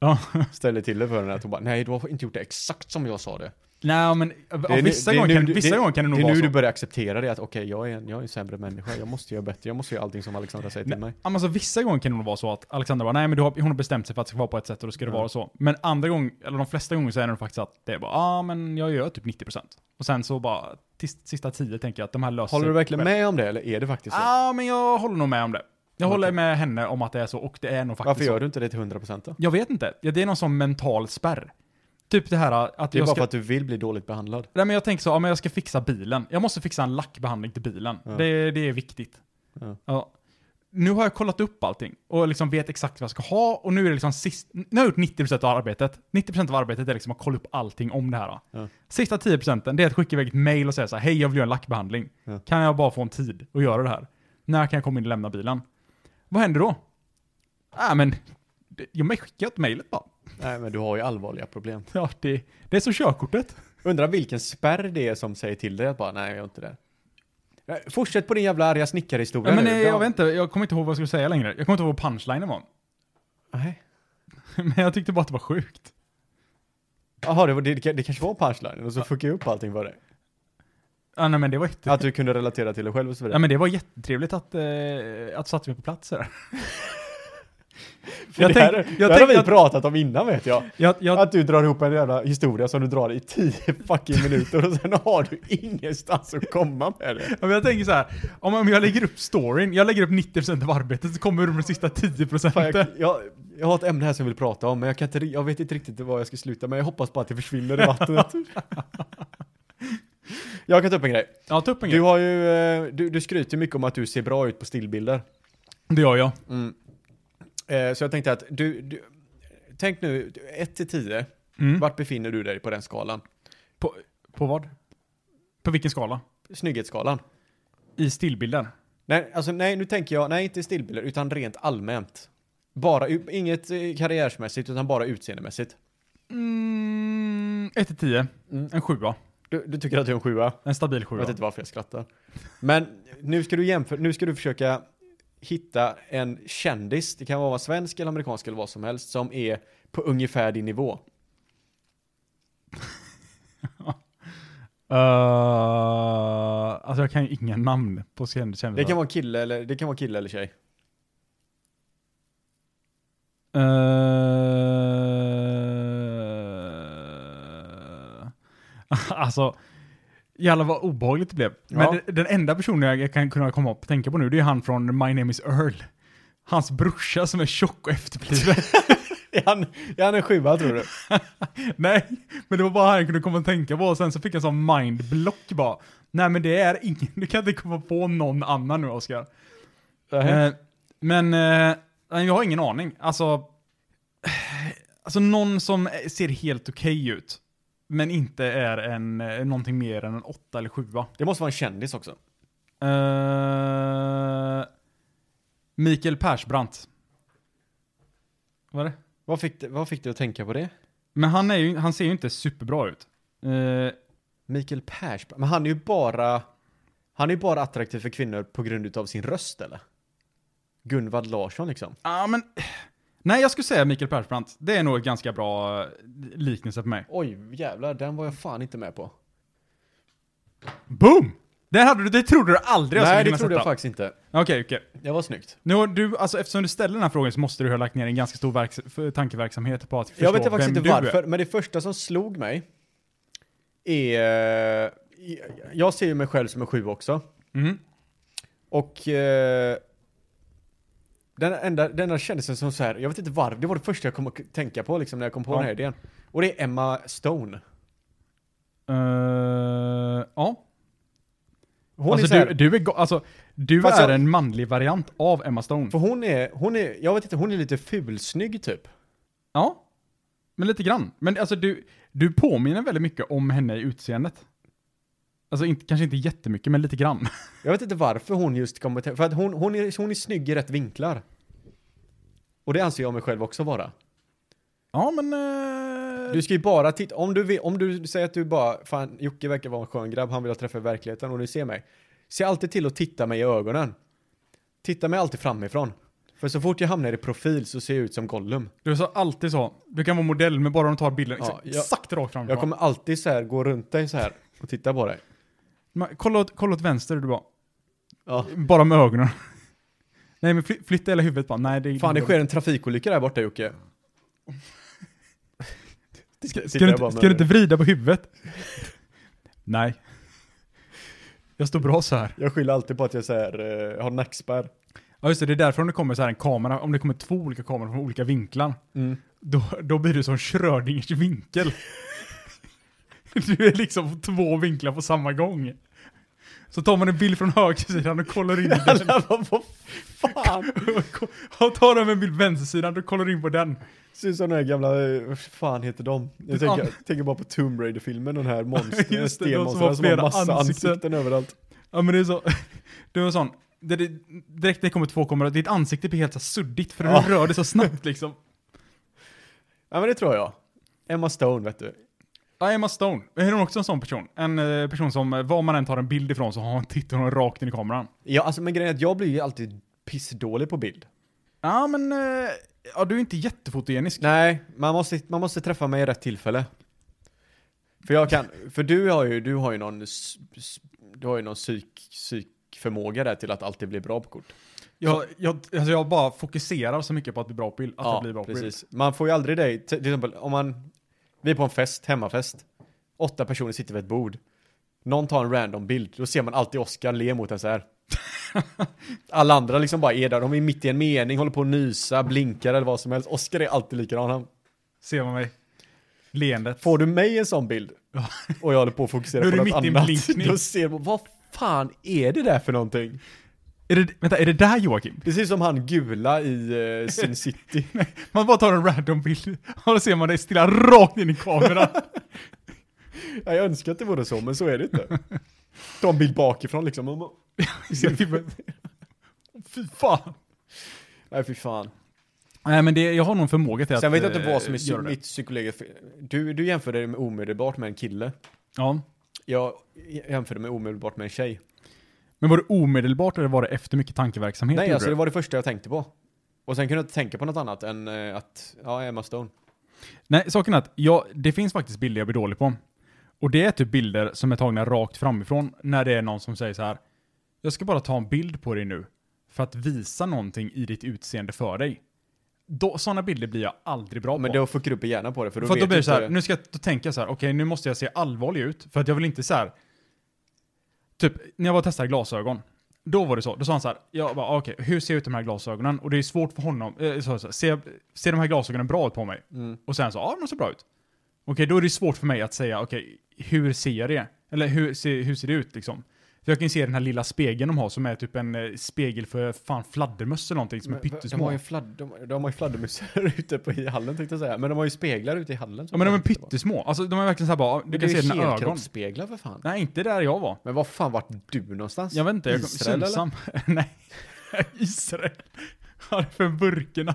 [SPEAKER 1] Ja.
[SPEAKER 3] ställer till det för henne. Att hon bara, nej du har inte gjort det exakt som jag sa det.
[SPEAKER 1] Nej, men av-
[SPEAKER 3] Det är
[SPEAKER 1] av
[SPEAKER 3] nu-
[SPEAKER 1] vissa
[SPEAKER 3] det är
[SPEAKER 1] gånger
[SPEAKER 3] nu
[SPEAKER 1] kan,
[SPEAKER 3] du-
[SPEAKER 1] vissa
[SPEAKER 3] det-
[SPEAKER 1] gånger kan det nog
[SPEAKER 3] Det är
[SPEAKER 1] vara
[SPEAKER 3] nu
[SPEAKER 1] så.
[SPEAKER 3] du börjar acceptera det, att okej, jag, är en- jag är en sämre människa, jag måste göra bättre, jag måste göra allting som Alexandra säger till mig.
[SPEAKER 1] Ja, men Alltså, vissa gånger kan det nog vara så att Alexandra bara, nej men du har, hon har bestämt sig för att det ska vara på ett sätt och då ska det
[SPEAKER 3] Ja.
[SPEAKER 1] vara så. Men andra gånger, eller de flesta gånger så är det nog faktiskt att det är bara, ja ah, men jag gör typ 90%. Och sen så bara, tis, sista tio tänker jag att de här löser
[SPEAKER 3] Håller du
[SPEAKER 1] sig
[SPEAKER 3] verkligen
[SPEAKER 1] själv.
[SPEAKER 3] med om det, eller är det faktiskt så?
[SPEAKER 1] Ja, ah, men jag håller nog med om det. Jag
[SPEAKER 3] Okej.
[SPEAKER 1] håller med henne om att det är så, och det är nog faktiskt
[SPEAKER 3] Varför
[SPEAKER 1] så.
[SPEAKER 3] gör du inte det till 100% då?
[SPEAKER 1] Jag vet inte. Ja, Det är någon sån mental spärr. Typ det här att
[SPEAKER 3] Det är
[SPEAKER 1] jag
[SPEAKER 3] bara
[SPEAKER 1] ska...
[SPEAKER 3] för att du vill bli dåligt behandlad.
[SPEAKER 1] Nej, men jag tänker så, ja, men jag ska fixa bilen. Jag måste fixa en lackbehandling till bilen.
[SPEAKER 3] Ja.
[SPEAKER 1] Det, det är viktigt.
[SPEAKER 3] Ja.
[SPEAKER 1] Ja. Nu har jag kollat upp allting och liksom vet exakt vad jag ska ha och nu är det liksom sist... Nu har jag gjort 90% av arbetet. 90% av arbetet är liksom att kolla upp allting om det här.
[SPEAKER 3] Ja.
[SPEAKER 1] Sista 10% det är att skicka iväg ett mail och säga så här, hej jag vill göra en lackbehandling.
[SPEAKER 3] Ja.
[SPEAKER 1] Kan jag bara få en tid och göra det här? När kan jag komma in och lämna bilen? Vad händer då? Nej men, det- jag skickar ett mejlet bara.
[SPEAKER 3] Nej, men du har ju allvarliga problem.
[SPEAKER 1] Ja, det, det är som körkortet.
[SPEAKER 3] Undrar vilken spärr det är som säger till dig att bara, nej, jag gör inte det. Nej, Fortsätt på din jävla arga snickarhistoria
[SPEAKER 1] Ja, men
[SPEAKER 3] nu.
[SPEAKER 1] eh, jag
[SPEAKER 3] Ja.
[SPEAKER 1] vet inte, jag kommer inte ihåg vad jag skulle säga längre. Jag kommer inte ihåg vad punchlinen var.
[SPEAKER 3] Nej.
[SPEAKER 1] Men jag tyckte bara att det var sjukt.
[SPEAKER 3] Jaha, det, var- det, det kanske var punchlinen och så fuckade jag upp allting för dig.
[SPEAKER 1] Ja, nej, men det var jätte...
[SPEAKER 3] Att du kunde relatera till dig själv och så
[SPEAKER 1] Ja,
[SPEAKER 3] vidare.
[SPEAKER 1] men det var jättetrevligt att, eh, att du satte mig på plats här. jag
[SPEAKER 3] det här,
[SPEAKER 1] tänk- jag
[SPEAKER 3] det här har
[SPEAKER 1] tänk
[SPEAKER 3] vi
[SPEAKER 1] att-
[SPEAKER 3] pratat om innan vet jag.
[SPEAKER 1] Jag, jag,
[SPEAKER 3] Att du drar ihop en jävla historia som du drar i tio fucking minuter och sen har du ingenstans att komma med det.
[SPEAKER 1] ja, men jag tänker så här, om, om jag lägger upp storyn, jag lägger upp 90% av arbetet så kommer du med de sista 10%
[SPEAKER 3] Fan, jag, jag, jag har ett ämne här som jag vill prata om, men jag, kan inte, ri- jag vet inte riktigt vad jag ska sluta med. Jag hoppas bara att det försvinner i vattnet. jag kan ta upp en grej.
[SPEAKER 1] Ja, ta upp en
[SPEAKER 3] Du,
[SPEAKER 1] grej.
[SPEAKER 3] har ju, eh, du, du skryter mycket om att du ser bra ut på stillbilder. Mm.
[SPEAKER 1] Det gör jag.
[SPEAKER 3] Eh, Så jag tänkte att du, du tänk nu, 1 till 10,
[SPEAKER 1] Mm.
[SPEAKER 3] vart befinner du dig på den skalan?
[SPEAKER 1] På, på vad? På vilken skala?
[SPEAKER 3] Snygghetsskalan.
[SPEAKER 1] I stillbilden?
[SPEAKER 3] Nej, alltså, nej, nu tänker jag, nej inte stillbilder, utan rent allmänt. Bara, u- inget eh, karriärsmässigt, utan bara utseendemässigt.
[SPEAKER 1] Mm, 1-10.
[SPEAKER 3] Mm.
[SPEAKER 1] En 7
[SPEAKER 3] Du, du tycker att du är en sjua?
[SPEAKER 1] En stabil 7
[SPEAKER 3] Jag vet inte varför jag skrattar. Men nu ska du jämföra, nu ska du försöka hitta en kändis, det kan vara svensk eller amerikansk eller vad som helst, som är på ungefär din nivå.
[SPEAKER 1] Uh, alltså jag kan ju inga namn på känd- kändisar.
[SPEAKER 3] Det kan vara en kille eller, det kan vara kille eller tjej.
[SPEAKER 1] Eh, alltså, jävlar vad obehagligt det blev. Men
[SPEAKER 3] Ja.
[SPEAKER 1] den- den enda personen jag kan kunna komma upp och tänka på nu, det är han från My Name Is Earl. Hans brorsa som är tjock och efterbliven.
[SPEAKER 3] Är han, är han en sjua tror du?
[SPEAKER 1] Nej, men det var bara han jag kunde komma och tänka på. Och sen så fick jag sån mindblock bara. Nej men det är ingen, du kan inte komma på någon annan nu Oskar. Eh, men eh, nej, jag har ingen aning. Alltså, alltså någon som eh, ser helt okej ut, men inte är en, eh, någonting mer än en åtta eller sjua.
[SPEAKER 3] Det måste vara en kändis också.
[SPEAKER 1] Eh, Mikael Persbrandt. Vad är det?
[SPEAKER 3] Vad fick, det- vad fick du att tänka på det?
[SPEAKER 1] Men han, är ju, han ser ju inte superbra ut. Eh,
[SPEAKER 3] Mikael Persbrandt, men han är ju bara, han är ju bara attraktiv för kvinnor på grund utav sin röst eller? Gunvald Larsson liksom.
[SPEAKER 1] Ja, men... Nej, jag skulle säga Mikael Persbrandt. Det är nog ett ganska bra eh, liknelse för mig.
[SPEAKER 3] Oj, jävlar, den var jag fan inte med på.
[SPEAKER 1] Boom! Det, hade du, det trodde du aldrig
[SPEAKER 3] Nej,
[SPEAKER 1] jag
[SPEAKER 3] det
[SPEAKER 1] skulle kunna
[SPEAKER 3] trodde jag
[SPEAKER 1] sätta.
[SPEAKER 3] faktiskt inte.
[SPEAKER 1] Okej, okej.
[SPEAKER 3] Det var snyggt.
[SPEAKER 1] Nu har du, alltså eftersom du ställer den här frågan så måste du ha lagt ner en ganska stor verks- för- tankeverksamhet på att förstå
[SPEAKER 3] Jag vet faktiskt
[SPEAKER 1] vem
[SPEAKER 3] inte
[SPEAKER 1] du är.
[SPEAKER 3] varför, men det första som slog mig är... eh, Jag ser ju mig själv som en sju också.
[SPEAKER 1] Mm.
[SPEAKER 3] Och eh, den enda, den enda kändisen som så här, jag vet inte varför, det var det första jag kom att tänka på liksom när jag kom på
[SPEAKER 1] Ja.
[SPEAKER 3] den här idén. Och det är Emma Stone.
[SPEAKER 1] Eh, ja.
[SPEAKER 3] Hon
[SPEAKER 1] alltså,
[SPEAKER 3] är så här,
[SPEAKER 1] du, du är, go- alltså, du
[SPEAKER 3] Fast
[SPEAKER 1] är
[SPEAKER 3] jag-
[SPEAKER 1] en manlig variant av Emma Stone.
[SPEAKER 3] För hon är, hon är, jag vet inte, hon är lite fulsnygg typ.
[SPEAKER 1] Ja. Men lite grann. Men alltså du, du påminner väldigt mycket om henne i utseendet. Alltså inte, kanske inte jättemycket, men lite grann.
[SPEAKER 3] Jag vet inte varför hon just kommer till, för att hon, hon, är, hon är snygg i rätt vinklar. Och det anser jag mig själv också vara.
[SPEAKER 1] Ja, men... eh,
[SPEAKER 3] Du ska ju bara titta, om du, vill, om du säger att du bara, fan Jocke verkar vara en skön grabb, han vill jag träffa i verkligheten och du ser mig. Se alltid till att titta mig i ögonen. Titta mig alltid framifrån. För så fort jag hamnar i profil så ser jag ut som Gollum.
[SPEAKER 1] Du sa alltid så. Du kan vara modell, men bara de tar bilden
[SPEAKER 3] Ja,
[SPEAKER 1] exakt,
[SPEAKER 3] jag-
[SPEAKER 1] exakt rakt fram.
[SPEAKER 3] Jag kommer alltid så här gå runt dig så här och titta på dig.
[SPEAKER 1] Men kolla, åt, kolla åt vänster, du bara.
[SPEAKER 3] Ja.
[SPEAKER 1] Bara med ögonen. Nej, men fly, flytta hela huvudet bara. Nej, det
[SPEAKER 3] Fan, det sker en trafikolycka där borta Jocke. Ska,
[SPEAKER 1] Ska du, inte, ska du inte vrida på huvudet? Nej. Jag står bra så här.
[SPEAKER 3] Jag skyller alltid på att jag så här, eh, har nackspärr.
[SPEAKER 1] Ja just det, det är därför om det kommer så här en kamera, om det kommer två olika kameror från olika vinklar, då, då blir du som Schrödingers vinkel. Du är liksom på två vinklar på samma gång. Så tar man en bild från högersidan och kollar in i den.
[SPEAKER 3] Alla bara, vad fan?
[SPEAKER 1] Och tar man en bild på vänstersidan och kollar in på den.
[SPEAKER 3] Ser ut som de här gamla, eh, vad fan heter de? Jag tänker, jag tänker bara på Tomb Raider-filmen, den här monster,
[SPEAKER 1] Just det, de som har
[SPEAKER 3] stenmonstren som har
[SPEAKER 1] flera
[SPEAKER 3] massa
[SPEAKER 1] ansikten.
[SPEAKER 3] ansikten, överallt.
[SPEAKER 1] Ja men det är så, det var sån, det, det, direkt när det kommer två kameror, ditt ansikte blir helt så här suddigt för
[SPEAKER 3] Ja.
[SPEAKER 1] du rör dig så snabbt liksom.
[SPEAKER 3] Ja men det tror jag. Emma Stone vet du.
[SPEAKER 1] Ja, Emma Stone. Är hon också en sån person? En eh, person som, eh, var man än tar en bild ifrån så har hon tittar hon rakt in i kameran.
[SPEAKER 3] Ja alltså men grejen är att jag blir ju alltid pissdålig på bild.
[SPEAKER 1] Ja, men... eh, Ja, du är inte jättefotogenisk.
[SPEAKER 3] Nej, man måste, man måste träffa mig i rätt tillfälle. För jag kan, för du har ju, du har ju någon, s- s- du har ju någon psyk, psykförmåga där till att alltid bli bra på kort.
[SPEAKER 1] Jag, jag, alltså jag bara fokuserar så mycket på att bli bra på bild. Att jag blir bra på bild.
[SPEAKER 3] precis. Man får ju aldrig dig, till exempel om man, vi är på en fest, hemmafest. Åtta personer sitter vid ett bord. Någon tar en random bild, då ser man alltid Oscar le mot en så här. Alla andra liksom bara är där, de är mitt i en mening, håller på att nysa, blinkar eller vad som helst. Oscar är alltid likadan. Han,
[SPEAKER 1] Ser man mig? Leendet.
[SPEAKER 3] Får du mig en sån bild
[SPEAKER 1] Ja.
[SPEAKER 3] och jag håller på att fokusera
[SPEAKER 1] Då är
[SPEAKER 3] på
[SPEAKER 1] du
[SPEAKER 3] något
[SPEAKER 1] mitt i en
[SPEAKER 3] annat,
[SPEAKER 1] blinkning.
[SPEAKER 3] då ser man, vad fan är det där för någonting?
[SPEAKER 1] Är det, vänta, är det där Joakim?
[SPEAKER 3] Det ser ut som han gula i eh, Sin City.
[SPEAKER 1] Man bara tar en random bild och då ser man dig stilla rakt in i kameran.
[SPEAKER 3] Ja, jag önskar att det vore så, men så är det inte. Ta en bild bakifrån liksom. och man-
[SPEAKER 1] Ser filmen. Fy fan.
[SPEAKER 3] Nej, fy fan.
[SPEAKER 1] Nej, men det, jag har någon förmåga till att...
[SPEAKER 3] Sen vet jag inte
[SPEAKER 1] eh,
[SPEAKER 3] vad som är psy-
[SPEAKER 1] göra det.
[SPEAKER 3] mitt psykologiskt fel. Du, du jämförde det med omedelbart med en kille.
[SPEAKER 1] Ja.
[SPEAKER 3] Jag jämförde med omedelbart med en tjej.
[SPEAKER 1] Men var det omedelbart eller var det efter mycket tankeverksamhet?
[SPEAKER 3] Nej,
[SPEAKER 1] gjorde
[SPEAKER 3] alltså
[SPEAKER 1] du?
[SPEAKER 3] det var det första jag tänkte på. Och sen kunde jag inte tänka på något annat än eh, att, ja, Emma Stone.
[SPEAKER 1] Nej, saken är att jag, det finns faktiskt bilder jag blir dålig på. Och det är typ bilder som är tagna rakt framifrån när det är någon som säger så här. Jag ska bara ta en bild på dig nu för att visa någonting i ditt utseende för dig. Då, sådana bilder blir jag aldrig bra
[SPEAKER 3] Men
[SPEAKER 1] på.
[SPEAKER 3] då fuckar du upp i hjärnan på det, för då
[SPEAKER 1] för att
[SPEAKER 3] vet
[SPEAKER 1] då blir
[SPEAKER 3] du
[SPEAKER 1] det
[SPEAKER 3] inte-
[SPEAKER 1] så här, nu ska jag, då tänker jag så här, okej nu måste jag se allvarlig ut för att jag vill inte så här. Typ, när jag var och testade glasögon. Då var det så, då sa han så här, jag bara "Ah, okej, hur ser jag ut i de här glasögonen? Och det är svårt för honom, eh, så, så, ser, ser de här glasögonen bra ut på mig?
[SPEAKER 3] Mm.
[SPEAKER 1] Och sen så, ja de ser bra ut. Okej, då är det svårt för mig att säga, okej, hur ser jag det? Eller hur ser, hur ser det ut liksom? För jag kan ju se den här lilla spegeln de har som är typ en eh, spegel för fan fladdermöss eller någonting som är
[SPEAKER 3] De
[SPEAKER 1] pyttesmå.
[SPEAKER 3] har ju, fladd, de, de har ju fladdermusar ute på, i hallen tänkte jag säga. Men de har ju speglar ute i hallen.
[SPEAKER 1] Ja men de är pyttesmå. Alltså de är verkligen såhär bara, du kan se dina ögon.
[SPEAKER 3] helkroppsspeglar för fan.
[SPEAKER 1] Nej, inte där jag var.
[SPEAKER 3] Men vad fan vart du någonstans?
[SPEAKER 1] Jag vet inte, jag kom,
[SPEAKER 3] Israel,
[SPEAKER 1] Sundsam. Nej, Israel. Vad är det för burkorna?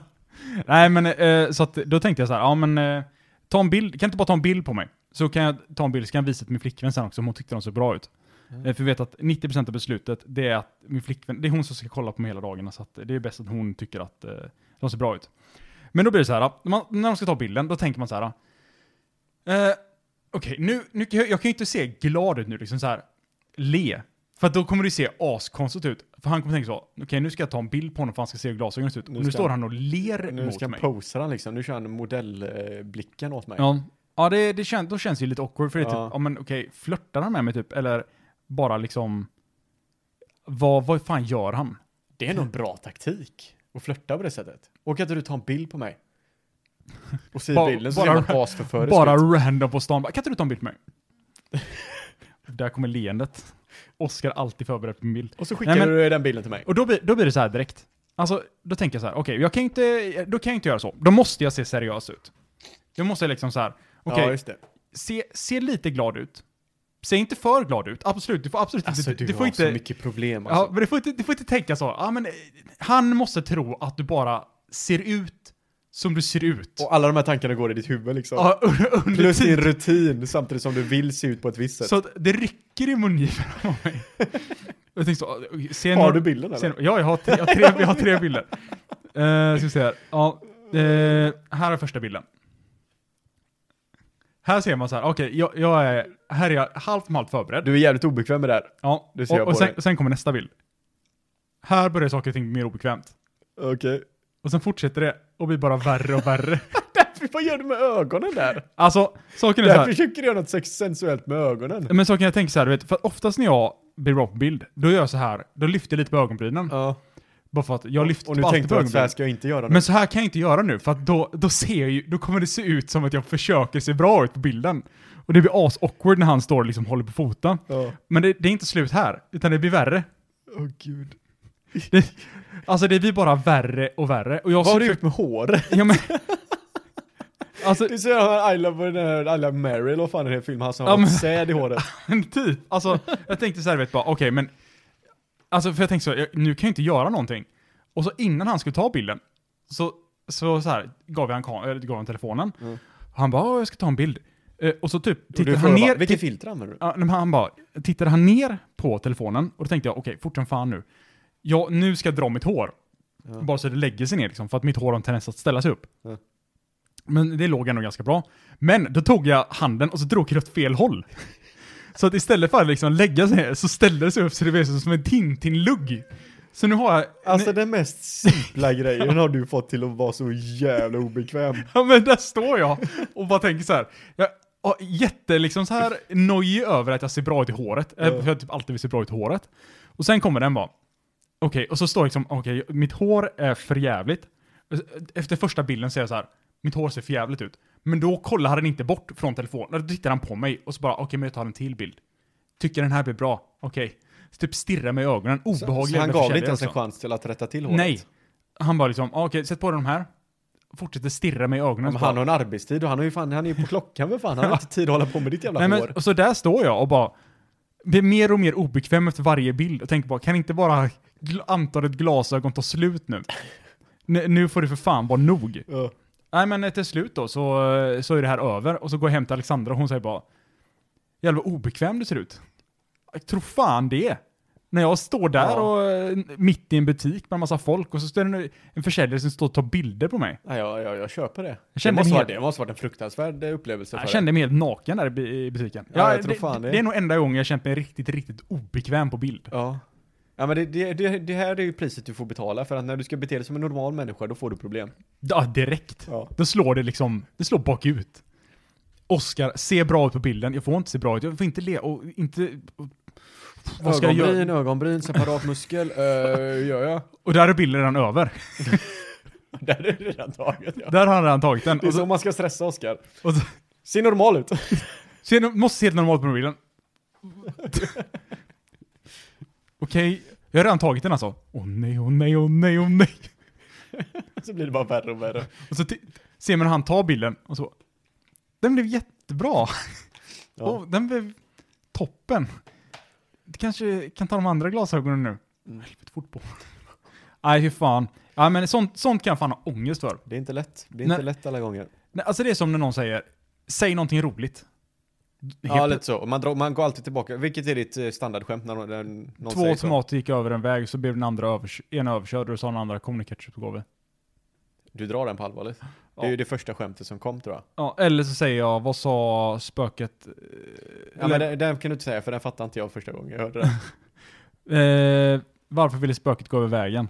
[SPEAKER 1] Nej men, eh, så att då tänkte jag så här, ja men eh, ta en bild, kan inte bara ta en bild på mig? Så kan jag ta en bild, så kan jag visa till min flickvän sen också om hon tyckte de såg bra ut.
[SPEAKER 3] Mm.
[SPEAKER 1] Eh, För vi vet att 90% av beslutet, det är att min flickvän, det är hon som ska kolla på mig hela dagarna, så att det är bäst att hon tycker att eh, de ser bra ut. Men då blir det så här, när, man, när de ska ta bilden, då tänker man så här. Eh, Okej, nu, nu, kan jag jag kan ju inte se glad ut nu, liksom så här. Le. För att då kommer det se askonstigt ut. För han kommer tänka så, okej nu ska jag ta en bild på honom för han ska se hur glasögonen ser ut.
[SPEAKER 3] Nu
[SPEAKER 1] Och nu
[SPEAKER 3] ska
[SPEAKER 1] står
[SPEAKER 3] han-
[SPEAKER 1] han och ler
[SPEAKER 3] Nu
[SPEAKER 1] mot
[SPEAKER 3] ska han
[SPEAKER 1] mig.
[SPEAKER 3] posa han liksom. Nu kör han modellblicken åt mig.
[SPEAKER 1] Ja, ja det, det kän, då känns det ju lite awkward för det är
[SPEAKER 3] Ja.
[SPEAKER 1] typ, ja men okej, flörtar han med mig typ? Eller bara liksom, vad, vad fan gör han?
[SPEAKER 3] Det är nog en bra taktik. Att flörta på det sättet. Och kan inte du ta en bild på mig? Och se
[SPEAKER 1] Bara-
[SPEAKER 3] bilden så
[SPEAKER 1] bara-
[SPEAKER 3] ser man asförförisk
[SPEAKER 1] bara
[SPEAKER 3] ut.
[SPEAKER 1] random på stan, bara, kan inte du ta en bild med mig? Där kommer leendet. Oskar alltid förberedd på en bild.
[SPEAKER 3] Och så skickar
[SPEAKER 1] Nej, men-
[SPEAKER 3] du den bilden till mig.
[SPEAKER 1] Och då blir, då blir det så här direkt. Alltså, då tänker jag så här, okej, jag kan inte, då kan jag inte göra så. Då måste jag se seriös ut. Då måste jag liksom så här, okej, Alltså,
[SPEAKER 3] Ja, just det.
[SPEAKER 1] se, se lite glad ut. Se inte för glad ut, absolut. Du får absolut
[SPEAKER 3] Alltså
[SPEAKER 1] inte...
[SPEAKER 3] du,
[SPEAKER 1] får
[SPEAKER 3] har
[SPEAKER 1] inte,
[SPEAKER 3] så mycket problem alltså.
[SPEAKER 1] Ja, men du får, inte, du får inte tänka så. Ja, men, eh, han måste tro att du bara ser ut som du ser ut.
[SPEAKER 3] Och alla de här tankarna går i ditt huvud liksom.
[SPEAKER 1] Ja, under, under
[SPEAKER 3] Plus
[SPEAKER 1] tiden.
[SPEAKER 3] din rutin samtidigt som du vill se ut på ett visst sätt.
[SPEAKER 1] Så att det rycker i mungiporna på mig. Jag tänkte så, ser
[SPEAKER 3] Har
[SPEAKER 1] någon-
[SPEAKER 3] du bilden eller?
[SPEAKER 1] ser- Ja, jag har, tre, jag, har tre, jag har tre bilder. Eh, ska vi se här. Ja, eh, här är första bilden. Här ser man så här, okej, jag, jag är, här är jag halvt malt förberedd.
[SPEAKER 3] Du är jävligt obekväm med det här.
[SPEAKER 1] Ja,
[SPEAKER 3] det ser jag
[SPEAKER 1] och, och
[SPEAKER 3] på
[SPEAKER 1] sen,
[SPEAKER 3] dig.
[SPEAKER 1] sen kommer nästa bild. Här börjar saker och ting bli mer obekvämt.
[SPEAKER 3] Okej.
[SPEAKER 1] Och sen fortsätter det och blir bara värre och värre.
[SPEAKER 3] Vad gör du med ögonen där?
[SPEAKER 1] Alltså, saken är så
[SPEAKER 3] Där
[SPEAKER 1] här.
[SPEAKER 3] försöker du göra något sex- sensuellt med ögonen.
[SPEAKER 1] Men saken jag tänker så här, du vet, för att oftast när jag blir bra på bild, då gör jag så här, då lyfter jag lite på ögonbrynen.
[SPEAKER 3] Ja.
[SPEAKER 1] Bara för att jag lyfter
[SPEAKER 3] Och nu
[SPEAKER 1] alltid
[SPEAKER 3] tänkte
[SPEAKER 1] på
[SPEAKER 3] du att så här
[SPEAKER 1] ögonbrynen.
[SPEAKER 3] ska jag inte göra nu.
[SPEAKER 1] Men så här kan jag inte göra nu, för att då, då ser jag ju, då kommer det se ut som att jag försöker se bra ut på bilden. Och det blir as-awkward när han står och liksom håller på foten.
[SPEAKER 3] Ja.
[SPEAKER 1] Men det, det är inte slut här, utan det blir värre.
[SPEAKER 3] Åh gud.
[SPEAKER 1] Det, alltså det blir bara värre och värre. Och jag
[SPEAKER 3] Vad har du
[SPEAKER 1] försöker-
[SPEAKER 3] gjort med håret?
[SPEAKER 1] Ja, men, alltså,
[SPEAKER 3] Du ser han I love, den här I love Meryl, vad fan är det för film? Han som
[SPEAKER 1] Ja,
[SPEAKER 3] har
[SPEAKER 1] men-
[SPEAKER 3] fått säd i håret.
[SPEAKER 1] men typ. Alltså, jag tänkte så här, vet bara, okej, men... Alltså, för jag tänkte så, här, jag, nu kan jag inte göra någonting. Och så innan han skulle ta bilden, så, så, så här, gav jag han, kam- eller, gav han telefonen.
[SPEAKER 3] Mm.
[SPEAKER 1] Han bara, "Ja, jag ska ta en bild. Eh, och så typ
[SPEAKER 3] Och du
[SPEAKER 1] tittade han
[SPEAKER 3] frågar
[SPEAKER 1] ner...
[SPEAKER 3] bara, Vilket
[SPEAKER 1] titt-
[SPEAKER 3] filter använder du?
[SPEAKER 1] Ja, nej, men han bara, tittade han ner på telefonen och då tänkte jag, okej, fort som fan nu. Ja, nu ska jag dra mitt hår.
[SPEAKER 3] Ja.
[SPEAKER 1] Bara så det lägger sig ner liksom, för att mitt hår har en tendens att ställa sig upp.
[SPEAKER 3] Ja.
[SPEAKER 1] Men det låg ändå ganska bra. Men då tog jag handen och så drog jag åt fel håll. Så att istället för att liksom lägga sig ner så ställde det sig upp så det blev som en Tintin-lugg. Så nu har jag...
[SPEAKER 3] Alltså
[SPEAKER 1] nu,
[SPEAKER 3] den mest simpla grejen har du fått till att vara så jävla obekväm.
[SPEAKER 1] ja, men där står jag och bara tänker så här. Jag har jätte liksom så här nojig över att jag ser bra ut i håret. Eh,
[SPEAKER 3] Ja.
[SPEAKER 1] För jag typ alltid vill se bra ut i håret. Och sen kommer den bara. Okej, och så står jag liksom, okej, mitt hår är för jävligt. Efter första bilden säger jag så här, mitt hår ser för jävligt ut. Men då kollar han inte bort från telefonen, då tittar han på mig och så bara, okej, men jag tar en till bild. Tycker den här blir bra, okej. Så typ stirrar mig i ögonen,
[SPEAKER 3] Så-
[SPEAKER 1] obehaglig.
[SPEAKER 3] så han
[SPEAKER 1] men
[SPEAKER 3] gav dig
[SPEAKER 1] försäljare
[SPEAKER 3] inte ens en
[SPEAKER 1] också.
[SPEAKER 3] chans till att rätta till håret.
[SPEAKER 1] Nej. Han bara liksom, okej, sätt på dig de här. Fortsätter stirra mig i ögonen.
[SPEAKER 3] Ja,
[SPEAKER 1] så
[SPEAKER 3] Men
[SPEAKER 1] bara-
[SPEAKER 3] han har en arbetstid och han, har ju fan, han är ju på klockan för fan. Han har inte tid att hålla på med ditt jävla
[SPEAKER 1] Nej, men,
[SPEAKER 3] hår.
[SPEAKER 1] och så där står jag och bara blir mer och mer obekväm efter varje bild och tänker bara, kan inte bara gl- antalet glasögon ta slut nu? N- nu får det för fan vara nog.
[SPEAKER 3] Ja.
[SPEAKER 1] Nej men eh, till slut då så, eh, så är det här över och så går jag hem till Alexandra och hon säger bara Jävlar vad obekväm du ser ut. Jag tror fan det. När jag står där
[SPEAKER 3] Ja.
[SPEAKER 1] och eh, mitt i en butik med en massa folk och så står det en, en försäljare som står och tar bilder på mig.
[SPEAKER 3] Nej, jag, jag, jag köper det.
[SPEAKER 1] kände
[SPEAKER 3] det, måste
[SPEAKER 1] mig
[SPEAKER 3] varit,
[SPEAKER 1] helt-
[SPEAKER 3] det måste varit en fruktansvärd eh, upplevelse
[SPEAKER 1] Jag
[SPEAKER 3] för
[SPEAKER 1] kände mig helt naken där i bi- i butiken.
[SPEAKER 3] Ja, jag tror
[SPEAKER 1] det,
[SPEAKER 3] fan
[SPEAKER 1] det.
[SPEAKER 3] det.
[SPEAKER 1] är nog enda gången jag känt mig riktigt, riktigt obekväm på bild.
[SPEAKER 3] dig. Ja. Ja, men det, det, det, det här är ju priset du får betala för att när du ska bete dig som en normal människa då får du problem.
[SPEAKER 1] Ja, direkt.
[SPEAKER 3] Ja.
[SPEAKER 1] Då slår det liksom, det slår bakut. Oskar, se bra ut på bilden. Jag får inte se bra ut. Jag får inte le och inte... och- Vad ska jag
[SPEAKER 3] ögonbryn,
[SPEAKER 1] göra?
[SPEAKER 3] ögonbryn, separat muskel. Uh, gör jag?
[SPEAKER 1] Och där är bilden redan över.
[SPEAKER 3] Där är det redan taget ja.
[SPEAKER 1] Där har han redan tagit den. Alltså,
[SPEAKER 3] Det är
[SPEAKER 1] Och så,
[SPEAKER 3] så man ska stressa Oskar.
[SPEAKER 1] och så,
[SPEAKER 3] Se normal ut.
[SPEAKER 1] se, måste se helt normalt på mobilen. Okej, jag har redan tagit den alltså. Åh nej, åh nej, åh nej, åh nej.
[SPEAKER 3] så blir det bara värre och värre.
[SPEAKER 1] Och så ti- ser man hur han tar bilden och så. Den blev jättebra.
[SPEAKER 3] Ja.
[SPEAKER 1] Och den blev toppen. Du kanske kan ta de andra glasögonen nu.
[SPEAKER 3] Mm.
[SPEAKER 1] Helvete, fotboll. Nej, hur fan. Ja, men sånt, sånt kan jag fan ha ångest för.
[SPEAKER 3] Det är inte lätt. Det är
[SPEAKER 1] Nej.
[SPEAKER 3] inte lätt alla gånger.
[SPEAKER 1] Nej, Alltså det är som när någon säger, säg någonting roligt.
[SPEAKER 3] Ja, lite så. Och Man, drar, man går alltid tillbaka. Vilket är ditt eh, standardskämt när någon, när någon
[SPEAKER 1] Två
[SPEAKER 3] säger så?
[SPEAKER 1] tomater gick över en väg, så blev den andra övers en överkörd och så har den andra kommit ketchupgåva.
[SPEAKER 3] Du drar den på allvarligt. Det
[SPEAKER 1] Ja.
[SPEAKER 3] är ju det första skämtet som kom tror jag.
[SPEAKER 1] Ja, eller så säger jag, vad sa spöket? eh,
[SPEAKER 3] Ja, men
[SPEAKER 1] eller,
[SPEAKER 3] den, den kan du inte säga för den fattade inte jag första gången jag hörde den.
[SPEAKER 1] eh, varför ville spöket gå över vägen?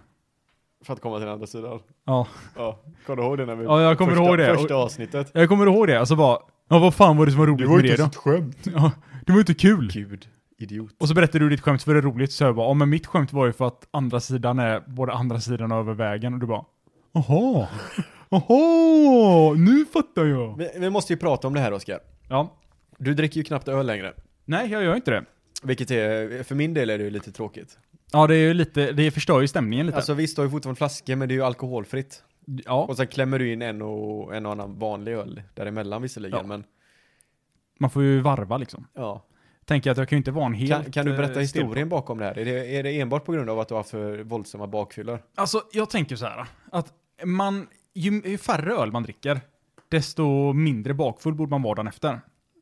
[SPEAKER 3] för att komma till den andra sidan.
[SPEAKER 1] Ja,
[SPEAKER 3] Ja, kommer du ihåg det när vi...
[SPEAKER 1] ja jag kommer
[SPEAKER 3] första,
[SPEAKER 1] ihåg det.
[SPEAKER 3] Första
[SPEAKER 1] Och,
[SPEAKER 3] avsnittet.
[SPEAKER 1] jag kommer ihåg det, alltså bara, ja vad fan var det som var roligt med det då?
[SPEAKER 3] skämt.
[SPEAKER 1] Ja, det var ju inte kul.
[SPEAKER 3] Gud, idiot.
[SPEAKER 1] Och så berättar du ditt skämt för det är roligt, så jag bara, ja men mitt skämt var ju för att andra sidan är, både andra sidan och över vägen, och du bara, jaha, jaha, nu fattar jag.
[SPEAKER 3] Vi, vi måste ju prata om det här Oskar.
[SPEAKER 1] Ja,
[SPEAKER 3] Du dricker ju knappt öl längre.
[SPEAKER 1] nej jag gör inte det.
[SPEAKER 3] Vilket är, för min del är det ju lite tråkigt.
[SPEAKER 1] Ja, det är ju lite, det förstör ju stämningen lite.
[SPEAKER 3] Alltså visst, du har ju fortfarande flaskor men det är ju alkoholfritt.
[SPEAKER 1] ja,
[SPEAKER 3] Och sen klämmer du in en och en och annan vanlig öl däremellan visserligen
[SPEAKER 1] Ja.
[SPEAKER 3] men
[SPEAKER 1] man får ju varva liksom.
[SPEAKER 3] ja.
[SPEAKER 1] Tänker att jag kan ju inte vara en helt...
[SPEAKER 3] Kan, kan du
[SPEAKER 1] eh,
[SPEAKER 3] berätta
[SPEAKER 1] stel-
[SPEAKER 3] historien bakom det här? Är det, är det enbart på grund av att du har haft för våldsamma bakfyllor?
[SPEAKER 1] Alltså, jag tänker så här, att man, ju, ju färre öl man dricker, desto mindre bakfull borde man vara dagen efter.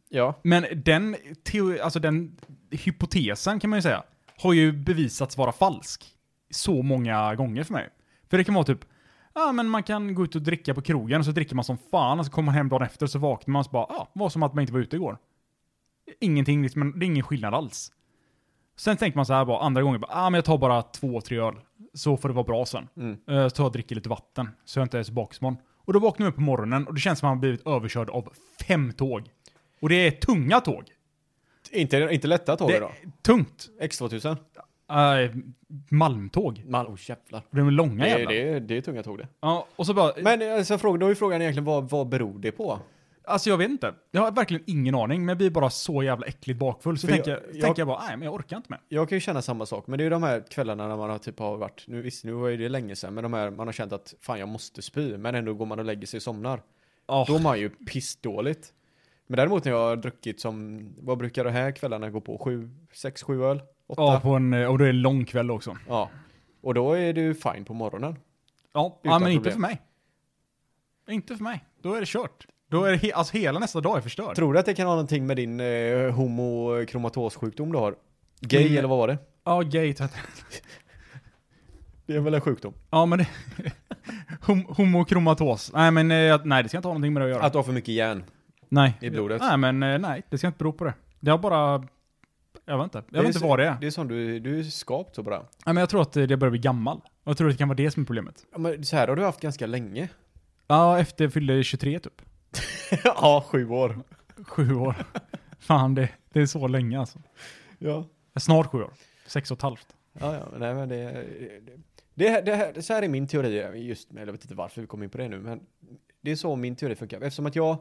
[SPEAKER 3] Ja.
[SPEAKER 1] Men den, teo, alltså den hypotesen kan man ju säga, har ju bevisats vara falsk. Så många gånger för mig. För det kan vara typ, ja men man kan gå ut och dricka på krogen och så dricker man som fan och så kommer man hem dagen efter och så vaknar man och så bara, ja, var som att man inte var ute igår. Ingenting, liksom, men det är ingen skillnad alls. Sen tänker man så här bara, andra gången, bara, ah, men jag tar bara två, tre öl. Så får det vara bra sen.
[SPEAKER 3] Mm.
[SPEAKER 1] Eh, Så tar jag och dricker lite vatten, så jag inte är så bakismorgon. Och då vaknar man upp på morgonen och det känns som att man har blivit överkörd av fem tåg. Och det är tunga tåg.
[SPEAKER 3] Inte, inte lätta tåg
[SPEAKER 1] det
[SPEAKER 3] idag.
[SPEAKER 1] är tungt.
[SPEAKER 3] X2000.
[SPEAKER 1] Eh, malmtåg.
[SPEAKER 3] Man, oh jävlar.
[SPEAKER 1] De är långa
[SPEAKER 3] Det, är-
[SPEAKER 1] jävlar.
[SPEAKER 3] det, är- det är tunga tåg det.
[SPEAKER 1] Ja, och så bara,
[SPEAKER 3] Men alltså, fråga- då är ju frågan egentligen vad, vad beror det på?
[SPEAKER 1] Alltså jag vet inte. Jag har verkligen ingen aning, men jag blir bara så jävla äckligt bakfull. Så
[SPEAKER 3] För
[SPEAKER 1] tänker jag,
[SPEAKER 3] jag- jag-
[SPEAKER 1] tänker jag bara, nej men jag orkar inte med.
[SPEAKER 3] Jag kan ju känna samma sak, men det är ju de här kvällarna när man har typ har varit, nu visst nu var ju det länge sedan, men de här man har känt att fan jag måste spy, men ändå går man och lägger sig och somnar.
[SPEAKER 1] Ja,
[SPEAKER 3] Då mår man ju pissdåligt. Men däremot när jag har druckit som, vad brukar de här kvällarna gå på? Sju, sex, sju öl? Åtta?
[SPEAKER 1] ja, på en, och det är en lång kväll också.
[SPEAKER 3] Ja. Och då är du fine på morgonen.
[SPEAKER 1] Ja,
[SPEAKER 3] Utan
[SPEAKER 1] ja men inte
[SPEAKER 3] problem.
[SPEAKER 1] för mig. Inte för mig. Då är det kört. Då är det he- alltså hela nästa dag är förstörd.
[SPEAKER 3] Tror du att det kan ha någonting med din eh, homokromatossjukdom du har? Gay
[SPEAKER 1] Min-
[SPEAKER 3] eller vad var det?
[SPEAKER 1] Ja, gate.
[SPEAKER 3] Det är väl en sjukdom?
[SPEAKER 1] Ja, men det... Hom homokromatos. Nej, men eh, jag- nej, det ska inte ha någonting med det att göra.
[SPEAKER 3] Att du har för mycket järn.
[SPEAKER 1] nej.
[SPEAKER 3] i blodet.
[SPEAKER 1] Nej, men eh, nej, det ska inte bero på det. Det har bara... Jag vet inte. Jag
[SPEAKER 3] är
[SPEAKER 1] vet inte
[SPEAKER 3] så-
[SPEAKER 1] vad det är.
[SPEAKER 3] Det är som du, du är skapt så bra.
[SPEAKER 1] Nej, men jag tror att eh, det börjar bli gammal. Jag tror att det kan vara det som är problemet.
[SPEAKER 3] Ja, men så här har du haft ganska länge.
[SPEAKER 1] Ja, efter jag fyllde 23 typ.
[SPEAKER 3] ja, sju år.
[SPEAKER 1] Sju år. Fan, det, det är så länge alltså.
[SPEAKER 3] Ja.
[SPEAKER 1] Snart sju år. Sex och ett halvt.
[SPEAKER 3] Ja, ja, nej men det... det- Det, här- det, här- så här är min teori, just med, jag vet inte varför vi kom in på det nu, men det är så min teori funkar. Eftersom att jag,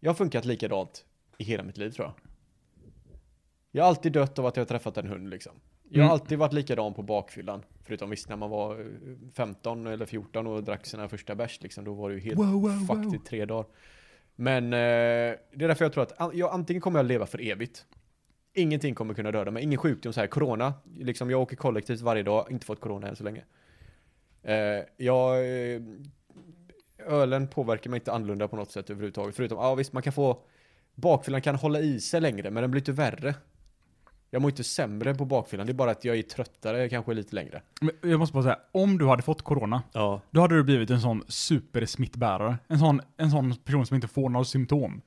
[SPEAKER 3] jag har funkat likadant i hela mitt liv tror jag. Jag har alltid dött av att jag har träffat en hund liksom. Jag har
[SPEAKER 1] Mm.
[SPEAKER 3] alltid varit likadan på bakfyllan. Förutom visst när man var eh, 15 eller 14 och drack sina första bärs liksom, då var det ju helt
[SPEAKER 1] Wow, wow,
[SPEAKER 3] fucked
[SPEAKER 1] wow.
[SPEAKER 3] i tre dagar. Men eh, det är därför jag tror att an- jag, antingen kommer jag leva för evigt. Ingenting kommer kunna döda mig. Ingen sjukdom så här. Corona, liksom jag åker kollektivt varje dag. Inte fått corona än så länge. Eh, jag, eh, ölen påverkar mig inte annorlunda på något sätt överhuvudtaget. Förutom, ja visst man kan få, bakfyllan kan hålla i sig längre men den blir inte värre. Jag mår inte sämre på bakfyllan. Det är bara att jag är tröttare kanske lite längre.
[SPEAKER 1] Men Jag måste bara säga, om du hade fått corona,
[SPEAKER 3] Ja.
[SPEAKER 1] då hade du blivit en sån supersmittbärare. En sån, en sån person som inte får några symptom.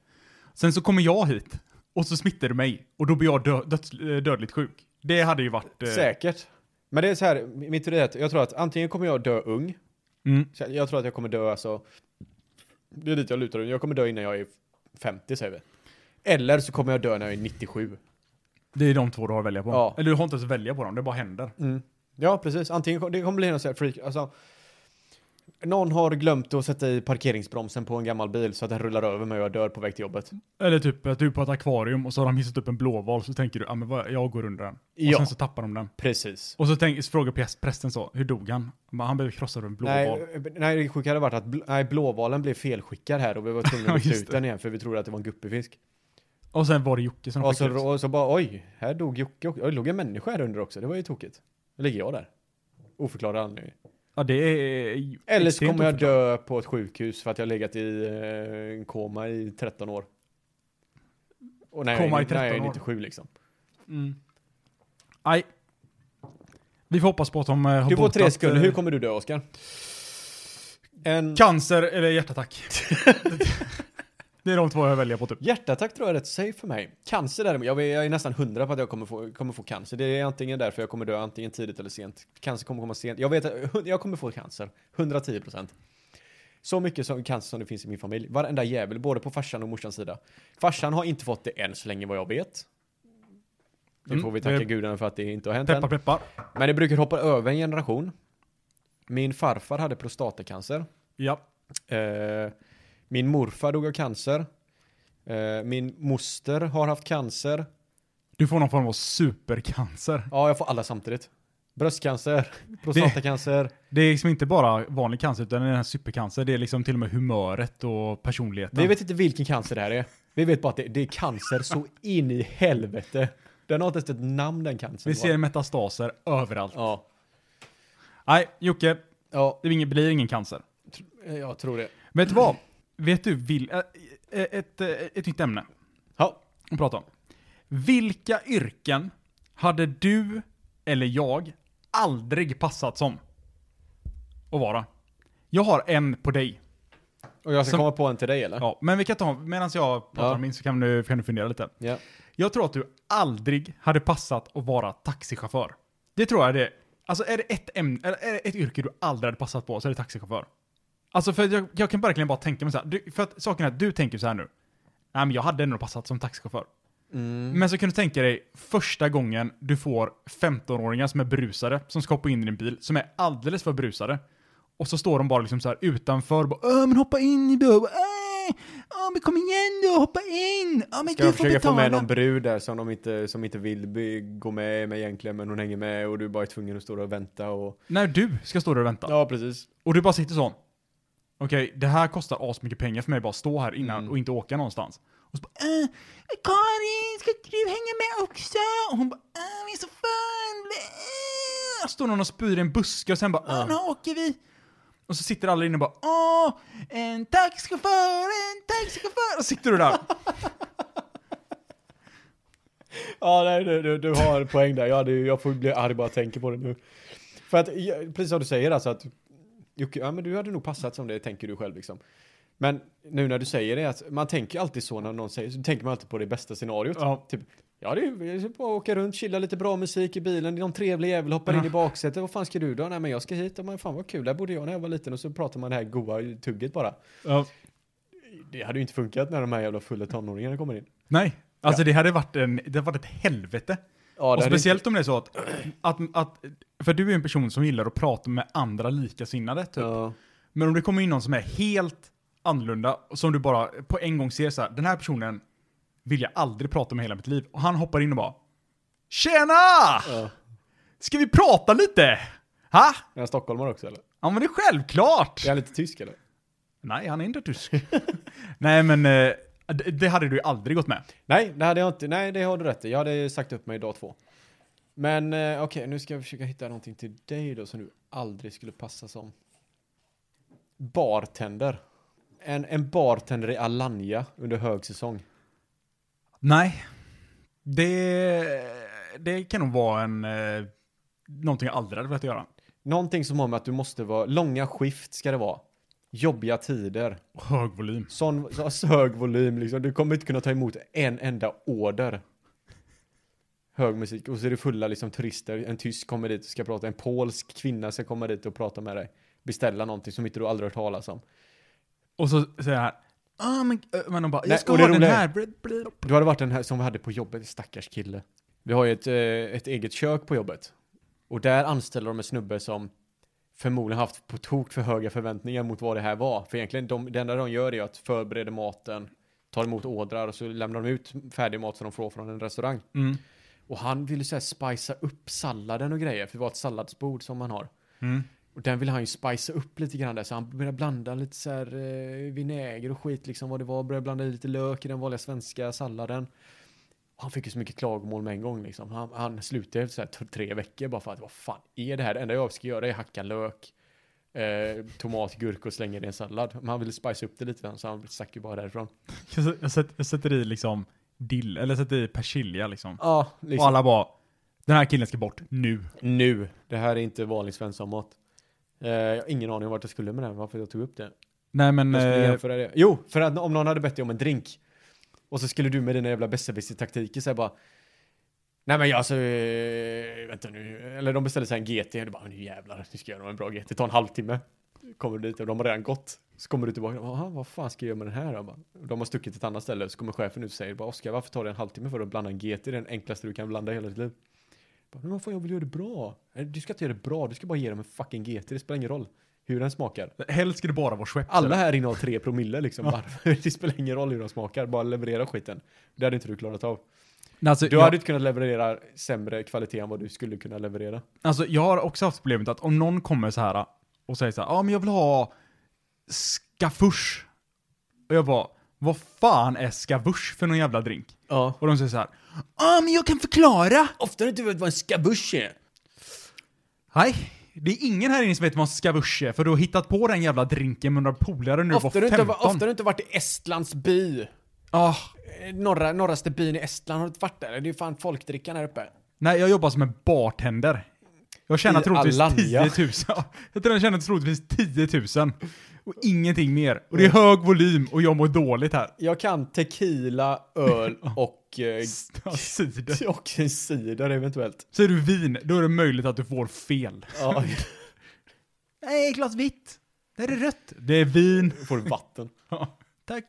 [SPEAKER 1] Sen så kommer jag hit, och så smittar du mig, och då blir jag dö, döds, eh, dödligt sjuk. Det hade ju varit... eh,
[SPEAKER 3] Säkert. Men det är så här, mitt teori är att jag tror att antingen kommer jag dö ung.
[SPEAKER 1] Mm.
[SPEAKER 3] Så Jag tror att jag kommer dö alltså. Det är lite jag lutar. Jag kommer dö innan jag är 50 säger vi. Eller så kommer jag dö när jag är 97.
[SPEAKER 1] Det är de två du har att välja på.
[SPEAKER 3] Ja.
[SPEAKER 1] Eller du har inte ens att välja på dem, det bara händer.
[SPEAKER 3] Ja, precis. Antingen kom- det kommer bli någon sån här freak. Alltså, någon har glömt att sätta i parkeringsbromsen på en gammal bil så att den rullar över mig och jag dör på väg till jobbet.
[SPEAKER 1] Eller typ att du är på ett akvarium och så har de hissat upp en blåval, så tänker du, ja ah, men vad- jag går under den.
[SPEAKER 3] Ja.
[SPEAKER 1] Och sen så tappar de den.
[SPEAKER 3] Precis.
[SPEAKER 1] Och så, tänk, så frågar präst- prästen så, hur dog han? Han bara, Han blev krossad av en blåval.
[SPEAKER 3] Nej, eh, nej, det sjuka hade varit att bl- nej, blåvalen blev felskickad här och vi var tvungna att
[SPEAKER 1] Ja,
[SPEAKER 3] lyfta
[SPEAKER 1] just
[SPEAKER 3] ut den igen för vi trodde att det var en guppyfisk.
[SPEAKER 1] Och sen var det Jocke som
[SPEAKER 3] Och
[SPEAKER 1] skickade
[SPEAKER 3] så,
[SPEAKER 1] ut.
[SPEAKER 3] och så bara oj, här dog Jocke också. Oj, låg en människa här under också. Det var ju tokigt. Då ligger jag där. Oförklarad anledning.
[SPEAKER 1] Ja, det är ju
[SPEAKER 3] Eller så
[SPEAKER 1] extremt
[SPEAKER 3] kommer jag
[SPEAKER 1] oförklarligt.
[SPEAKER 3] dö på ett sjukhus för att jag har legat i eh, en koma i 13 år. Och när
[SPEAKER 1] Koma i
[SPEAKER 3] jag, är- när jag är
[SPEAKER 1] 13 år.
[SPEAKER 3] 97 liksom.
[SPEAKER 1] Mm. Nej. Vi får hoppas på att de eh, har
[SPEAKER 3] Du får
[SPEAKER 1] botat,
[SPEAKER 3] tre sekunder,
[SPEAKER 1] eh,
[SPEAKER 3] hur kommer du dö Oskar? En
[SPEAKER 1] Cancer eller hjärtattack. det är de två jag väljer på typ.
[SPEAKER 3] hjärtattack tror jag är rätt safe för mig. Cancer däremot, jag är, jag är nästan hundra på att jag kommer få, kommer få cancer. Det är antingen därför jag kommer dö, antingen tidigt eller sent. Cancer kommer komma sent. Jag vet att jag kommer få cancer, 110 procent. Så mycket som cancer som det finns i min familj. Varenda jävel, både på farsan och morsans sida. Farsan har inte fått det än så länge vad jag vet. Det
[SPEAKER 1] Mm,
[SPEAKER 3] får vi tacka
[SPEAKER 1] det-
[SPEAKER 3] gudarna för att det inte har hänt än.
[SPEAKER 1] Peppar, peppar.
[SPEAKER 3] Men det brukar hoppa över en generation. Min farfar hade prostatacancer.
[SPEAKER 1] Ja.
[SPEAKER 3] Eh, min morfar dog av cancer. Eh, min moster har haft cancer.
[SPEAKER 1] Du får någon form av supercancer.
[SPEAKER 3] Ja, jag får alla samtidigt. Bröstcancer, prostatacancer.
[SPEAKER 1] Det är liksom inte bara vanlig cancer, utan den här supercancer, det är liksom till och med humöret och personligheten.
[SPEAKER 3] Vi vet inte vilken cancer det här är. Vi vet bara att det, det är cancer så in i helvete. Den har inte ens ett namn den cancern.
[SPEAKER 1] Vi ser metastaser överallt.
[SPEAKER 3] Ja.
[SPEAKER 1] Nej, Jocke,
[SPEAKER 3] ja, eh,
[SPEAKER 1] det blir ingen- blir ingen cancer.
[SPEAKER 3] jag tror det.
[SPEAKER 1] Vet du vad? Vet du, vil, äh, äh, ett, äh, ett nytt ämne
[SPEAKER 3] Ja,
[SPEAKER 1] att prata om. Vilka yrken hade du eller jag aldrig passat som att vara? Jag har en på dig.
[SPEAKER 3] Och jag ska
[SPEAKER 1] Som-
[SPEAKER 3] komma på en till dig eller?
[SPEAKER 1] Ja, men vi kan ta, medan jag pratar
[SPEAKER 3] Ja.
[SPEAKER 1] om min så kan du, kan du fundera lite.
[SPEAKER 3] Ja.
[SPEAKER 1] Jag tror att du aldrig hade passat att vara taxichaufför. Det tror jag det. Alltså är det ett ämne, eller är det ett yrke du aldrig hade passat på så är det taxichaufför. Alltså för jag, jag kan verkligen bara tänka mig så här. Du, för att saken är att du tänker så här nu. Nej men jag hade nog passat som taxichaufför.
[SPEAKER 3] Mm.
[SPEAKER 1] Men så kan du tänka dig första gången du får 15-åringar som är brusade, som ska hoppa in i din bil, som är alldeles för brusade. Och så står de bara liksom så här utanför, bara "Åh, men hoppa in i då, Åh, åh, men kom igen då, hoppa in! Ja men
[SPEAKER 3] Ska
[SPEAKER 1] du
[SPEAKER 3] de
[SPEAKER 1] får
[SPEAKER 3] försöka få
[SPEAKER 1] betala!
[SPEAKER 3] med någon brud där som de inte, som inte vill by- gå med, med egentligen, men hon hänger med och du bara är tvungen att stå där och vänta och...
[SPEAKER 1] När du ska stå där och vänta.
[SPEAKER 3] Ja, precis.
[SPEAKER 1] Och du bara sitter så. Okej, det här kostar asmycket pengar för mig bara att stå här innan
[SPEAKER 3] Mm.
[SPEAKER 1] och inte åka någonstans. Och så bara, äh, Karin, ska inte du hänga med också? Och hon bara, äh, vi är så fan. Äh. Står någon och spyr i en buske och sen bara,
[SPEAKER 3] Ja.
[SPEAKER 1] äh, nu åker vi. Och så sitter alla inne och bara, åh, en taxichaufför, en taxichaufför. Och sitter du där.
[SPEAKER 3] Ja, nej, du, du, du har en poäng där. Jag, hade, ju- jag får bli arg bara jag tänker på det nu. För att, ja, precis som du säger alltså att Jocke, ja men du hade nog passat som det tänker du själv liksom. Men nu när du säger det, att man tänker alltid så när någon säger, så tänker man alltid på det bästa scenariot.
[SPEAKER 1] Ja.
[SPEAKER 3] Typ, ja det är ju bara åka runt, chilla lite bra musik i bilen, någon trevlig jävel hoppar
[SPEAKER 1] Ja.
[SPEAKER 3] in i baksätet, vad fan ska du då? Nej men jag ska hit, och man, fan vad kul, där bodde jag när jag var liten och så pratar man det här goa tugget bara.
[SPEAKER 1] Ja.
[SPEAKER 3] Det hade ju inte funkat när de här jävla fulla tonåringarna kommer in.
[SPEAKER 1] Nej, alltså det hade varit, en, det hade varit ett helvete.
[SPEAKER 3] Ja,
[SPEAKER 1] och
[SPEAKER 3] det hade inte-
[SPEAKER 1] speciellt om det är så att, att, att, för du är en person som gillar att prata med andra likasinnade typ.
[SPEAKER 3] Ja.
[SPEAKER 1] Men om det kommer in någon som är helt annorlunda, och som du bara på en gång ser så här, den här personen vill jag aldrig prata med hela mitt liv. Och han hoppar in och bara Tjena!
[SPEAKER 3] ja.
[SPEAKER 1] Ska vi prata lite? Ha?
[SPEAKER 3] Är han stockholmare också eller?
[SPEAKER 1] Ja men det är självklart!
[SPEAKER 3] Är han lite tysk eller?
[SPEAKER 1] Nej, han är inte tysk. Nej men, eh, det- det hade du ju aldrig gått med.
[SPEAKER 3] Nej, det hade jag inte. Nej, det har du rätt i. Jag hade sagt upp mig dag två. Men eh, okej, nu ska jag försöka hitta någonting till dig då som du aldrig skulle passa som. Bartender. En, en bartender i Alanya under högsäsong.
[SPEAKER 1] Nej. Det, det kan nog vara en, eh, någonting jag aldrig hade velat göra.
[SPEAKER 3] Någonting som har med att du måste vara, långa skift ska det vara. Jobbiga tider.
[SPEAKER 1] Hög volym.
[SPEAKER 3] Sån, så, så hög volym liksom. Du kommer inte kunna ta emot en enda order. Hög musik. Och så är det fulla liksom turister. En tysk kommer dit och ska prata. En polsk kvinna ska komma dit och prata med dig. Beställa någonting som inte du aldrig hört talas om.
[SPEAKER 1] Och så säger han, ah, men, eh, men de bara,
[SPEAKER 3] Nej,
[SPEAKER 1] jag ska
[SPEAKER 3] och det
[SPEAKER 1] ha den
[SPEAKER 3] roliga
[SPEAKER 1] här.
[SPEAKER 3] är-
[SPEAKER 1] Bl- bl-
[SPEAKER 3] Du hade varit den här som vi hade på jobbet, stackars kille. Vi har ju ett, eh, ett eget kök på jobbet. Och där anställer de en snubbe som förmodligen haft på tok för höga förväntningar mot vad det här var. För egentligen, de, det enda de gör är ju att förbereda maten, tar emot ordrar och så lämnar de ut färdig mat som de får från en restaurang.
[SPEAKER 1] Mm.
[SPEAKER 3] Och han ville så här spicea upp salladen och grejer, för det var ett salladsbord som han har.
[SPEAKER 1] Mm.
[SPEAKER 3] Och den ville han ju spicea upp lite grann där, så han började blanda lite så här eh, vinäger och skit liksom vad det var. Började blanda i lite lök i den vanliga svenska salladen. Och han fick ju så mycket klagomål med en gång liksom. Han, han slutade efter så här t- tre veckor bara för att vad fan är det här? Det enda jag ska göra är hacka lök, eh, tomat, gurka och slänga det i en sallad. Men han ville spicea upp det lite så han stack ju bara därifrån.
[SPEAKER 1] Jag, sätter, jag, sätter, jag sätter i liksom dill, eller jag sätter i persilja liksom.
[SPEAKER 3] Ja, liksom.
[SPEAKER 1] Och alla bara, den här killen ska bort nu.
[SPEAKER 3] Nu. Det här är inte vanlig svenssonmat. Eh, jag har ingen aning om vart jag skulle med den, varför jag tog upp det.
[SPEAKER 1] Nej men,
[SPEAKER 3] Jag skulle
[SPEAKER 1] eh,
[SPEAKER 3] jämföra det. Jo, för att om någon hade bett dig om en drink och så skulle du med dina jävla besserwisser-taktiker säga bara Nej men jag alltså, eh, vänta nu, eller de beställde sig en GT och du bara nu jävlar, nu ska jag göra en bra GT, det tar en halvtimme. Kommer du dit och de har redan gått. Så kommer du tillbaka och bara, "Aha, vad fan ska jag göra med den här då? Bara, De har stuckit till ett annat ställe, så kommer chefen ut och säger bara Oskar, varför tar det en halvtimme för att blanda en GT? Det är den enklaste du kan blanda i hela ditt liv. Bara, men vad fan, jag vill göra det bra. "Nej, Du ska inte göra det bra, du ska bara ge dem en fucking GT, det spelar ingen roll hur den smakar.
[SPEAKER 1] helst ska det bara vara Schweppes.
[SPEAKER 3] Alla
[SPEAKER 1] eller?
[SPEAKER 3] här inne har tre promille liksom. Varför? Det spelar ingen roll hur de smakar, bara leverera skiten. Det hade inte du klarat av.
[SPEAKER 1] Nej, Alltså,
[SPEAKER 3] Du
[SPEAKER 1] jag,
[SPEAKER 3] hade inte kunnat leverera sämre kvalitet än vad du skulle kunna leverera.
[SPEAKER 1] alltså, jag har också haft problemet att om någon kommer så här och säger så här, ja ah, men jag vill ha skafusch. Och jag bara, vad fan är skavusch för någon jävla drink?
[SPEAKER 3] Ja.
[SPEAKER 1] Och de säger så här, ja ah, men jag kan förklara.
[SPEAKER 3] Ofta har du inte vet vad en skabusch är.
[SPEAKER 1] Nej, det är ingen här inne som vet vad en skavusch är, för du har hittat på den jävla drinken med några polare när du
[SPEAKER 3] Ofta har
[SPEAKER 1] var
[SPEAKER 3] du inte,
[SPEAKER 1] 15.
[SPEAKER 3] ofta har du inte varit i Estlands by.
[SPEAKER 1] Ah,
[SPEAKER 3] Eh, Norra, norraste byn i Estland har du inte varit där. Det är ju fan folkdrickan här uppe.
[SPEAKER 1] nej, jag jobbar som en bartender. Jag tjänar
[SPEAKER 3] I
[SPEAKER 1] troligtvis
[SPEAKER 3] Alanya.
[SPEAKER 1] 10 000. Ja, Jag tror jag tjänar troligtvis 10 000. Och ingenting mer. Och det
[SPEAKER 3] Mm.
[SPEAKER 1] är hög volym och jag mår dåligt här.
[SPEAKER 3] Jag kan tequila, öl och, eh,
[SPEAKER 1] Ja, Cider.
[SPEAKER 3] och cider eventuellt.
[SPEAKER 1] Säger du vin, då är det möjligt att du får fel.
[SPEAKER 3] Ja,
[SPEAKER 1] Nej, glas vitt. Det är rött. Det är vin.
[SPEAKER 3] då får du vatten.
[SPEAKER 1] Ja, tack.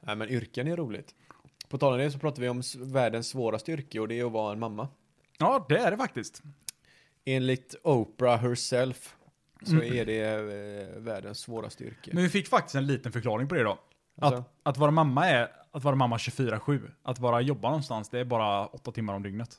[SPEAKER 3] Nej men yrken är roligt. På tal om det så pratar vi om s- världens svåraste yrke och det är att vara en mamma.
[SPEAKER 1] Ja, det är det faktiskt.
[SPEAKER 3] Enligt Oprah herself så är det eh, världens svåraste yrke.
[SPEAKER 1] Mm. Men vi fick faktiskt en liten förklaring på det då.
[SPEAKER 3] Alltså?
[SPEAKER 1] Att, att vara mamma är att vara mamma 24-7. Att bara jobba någonstans, det är bara åtta timmar om dygnet.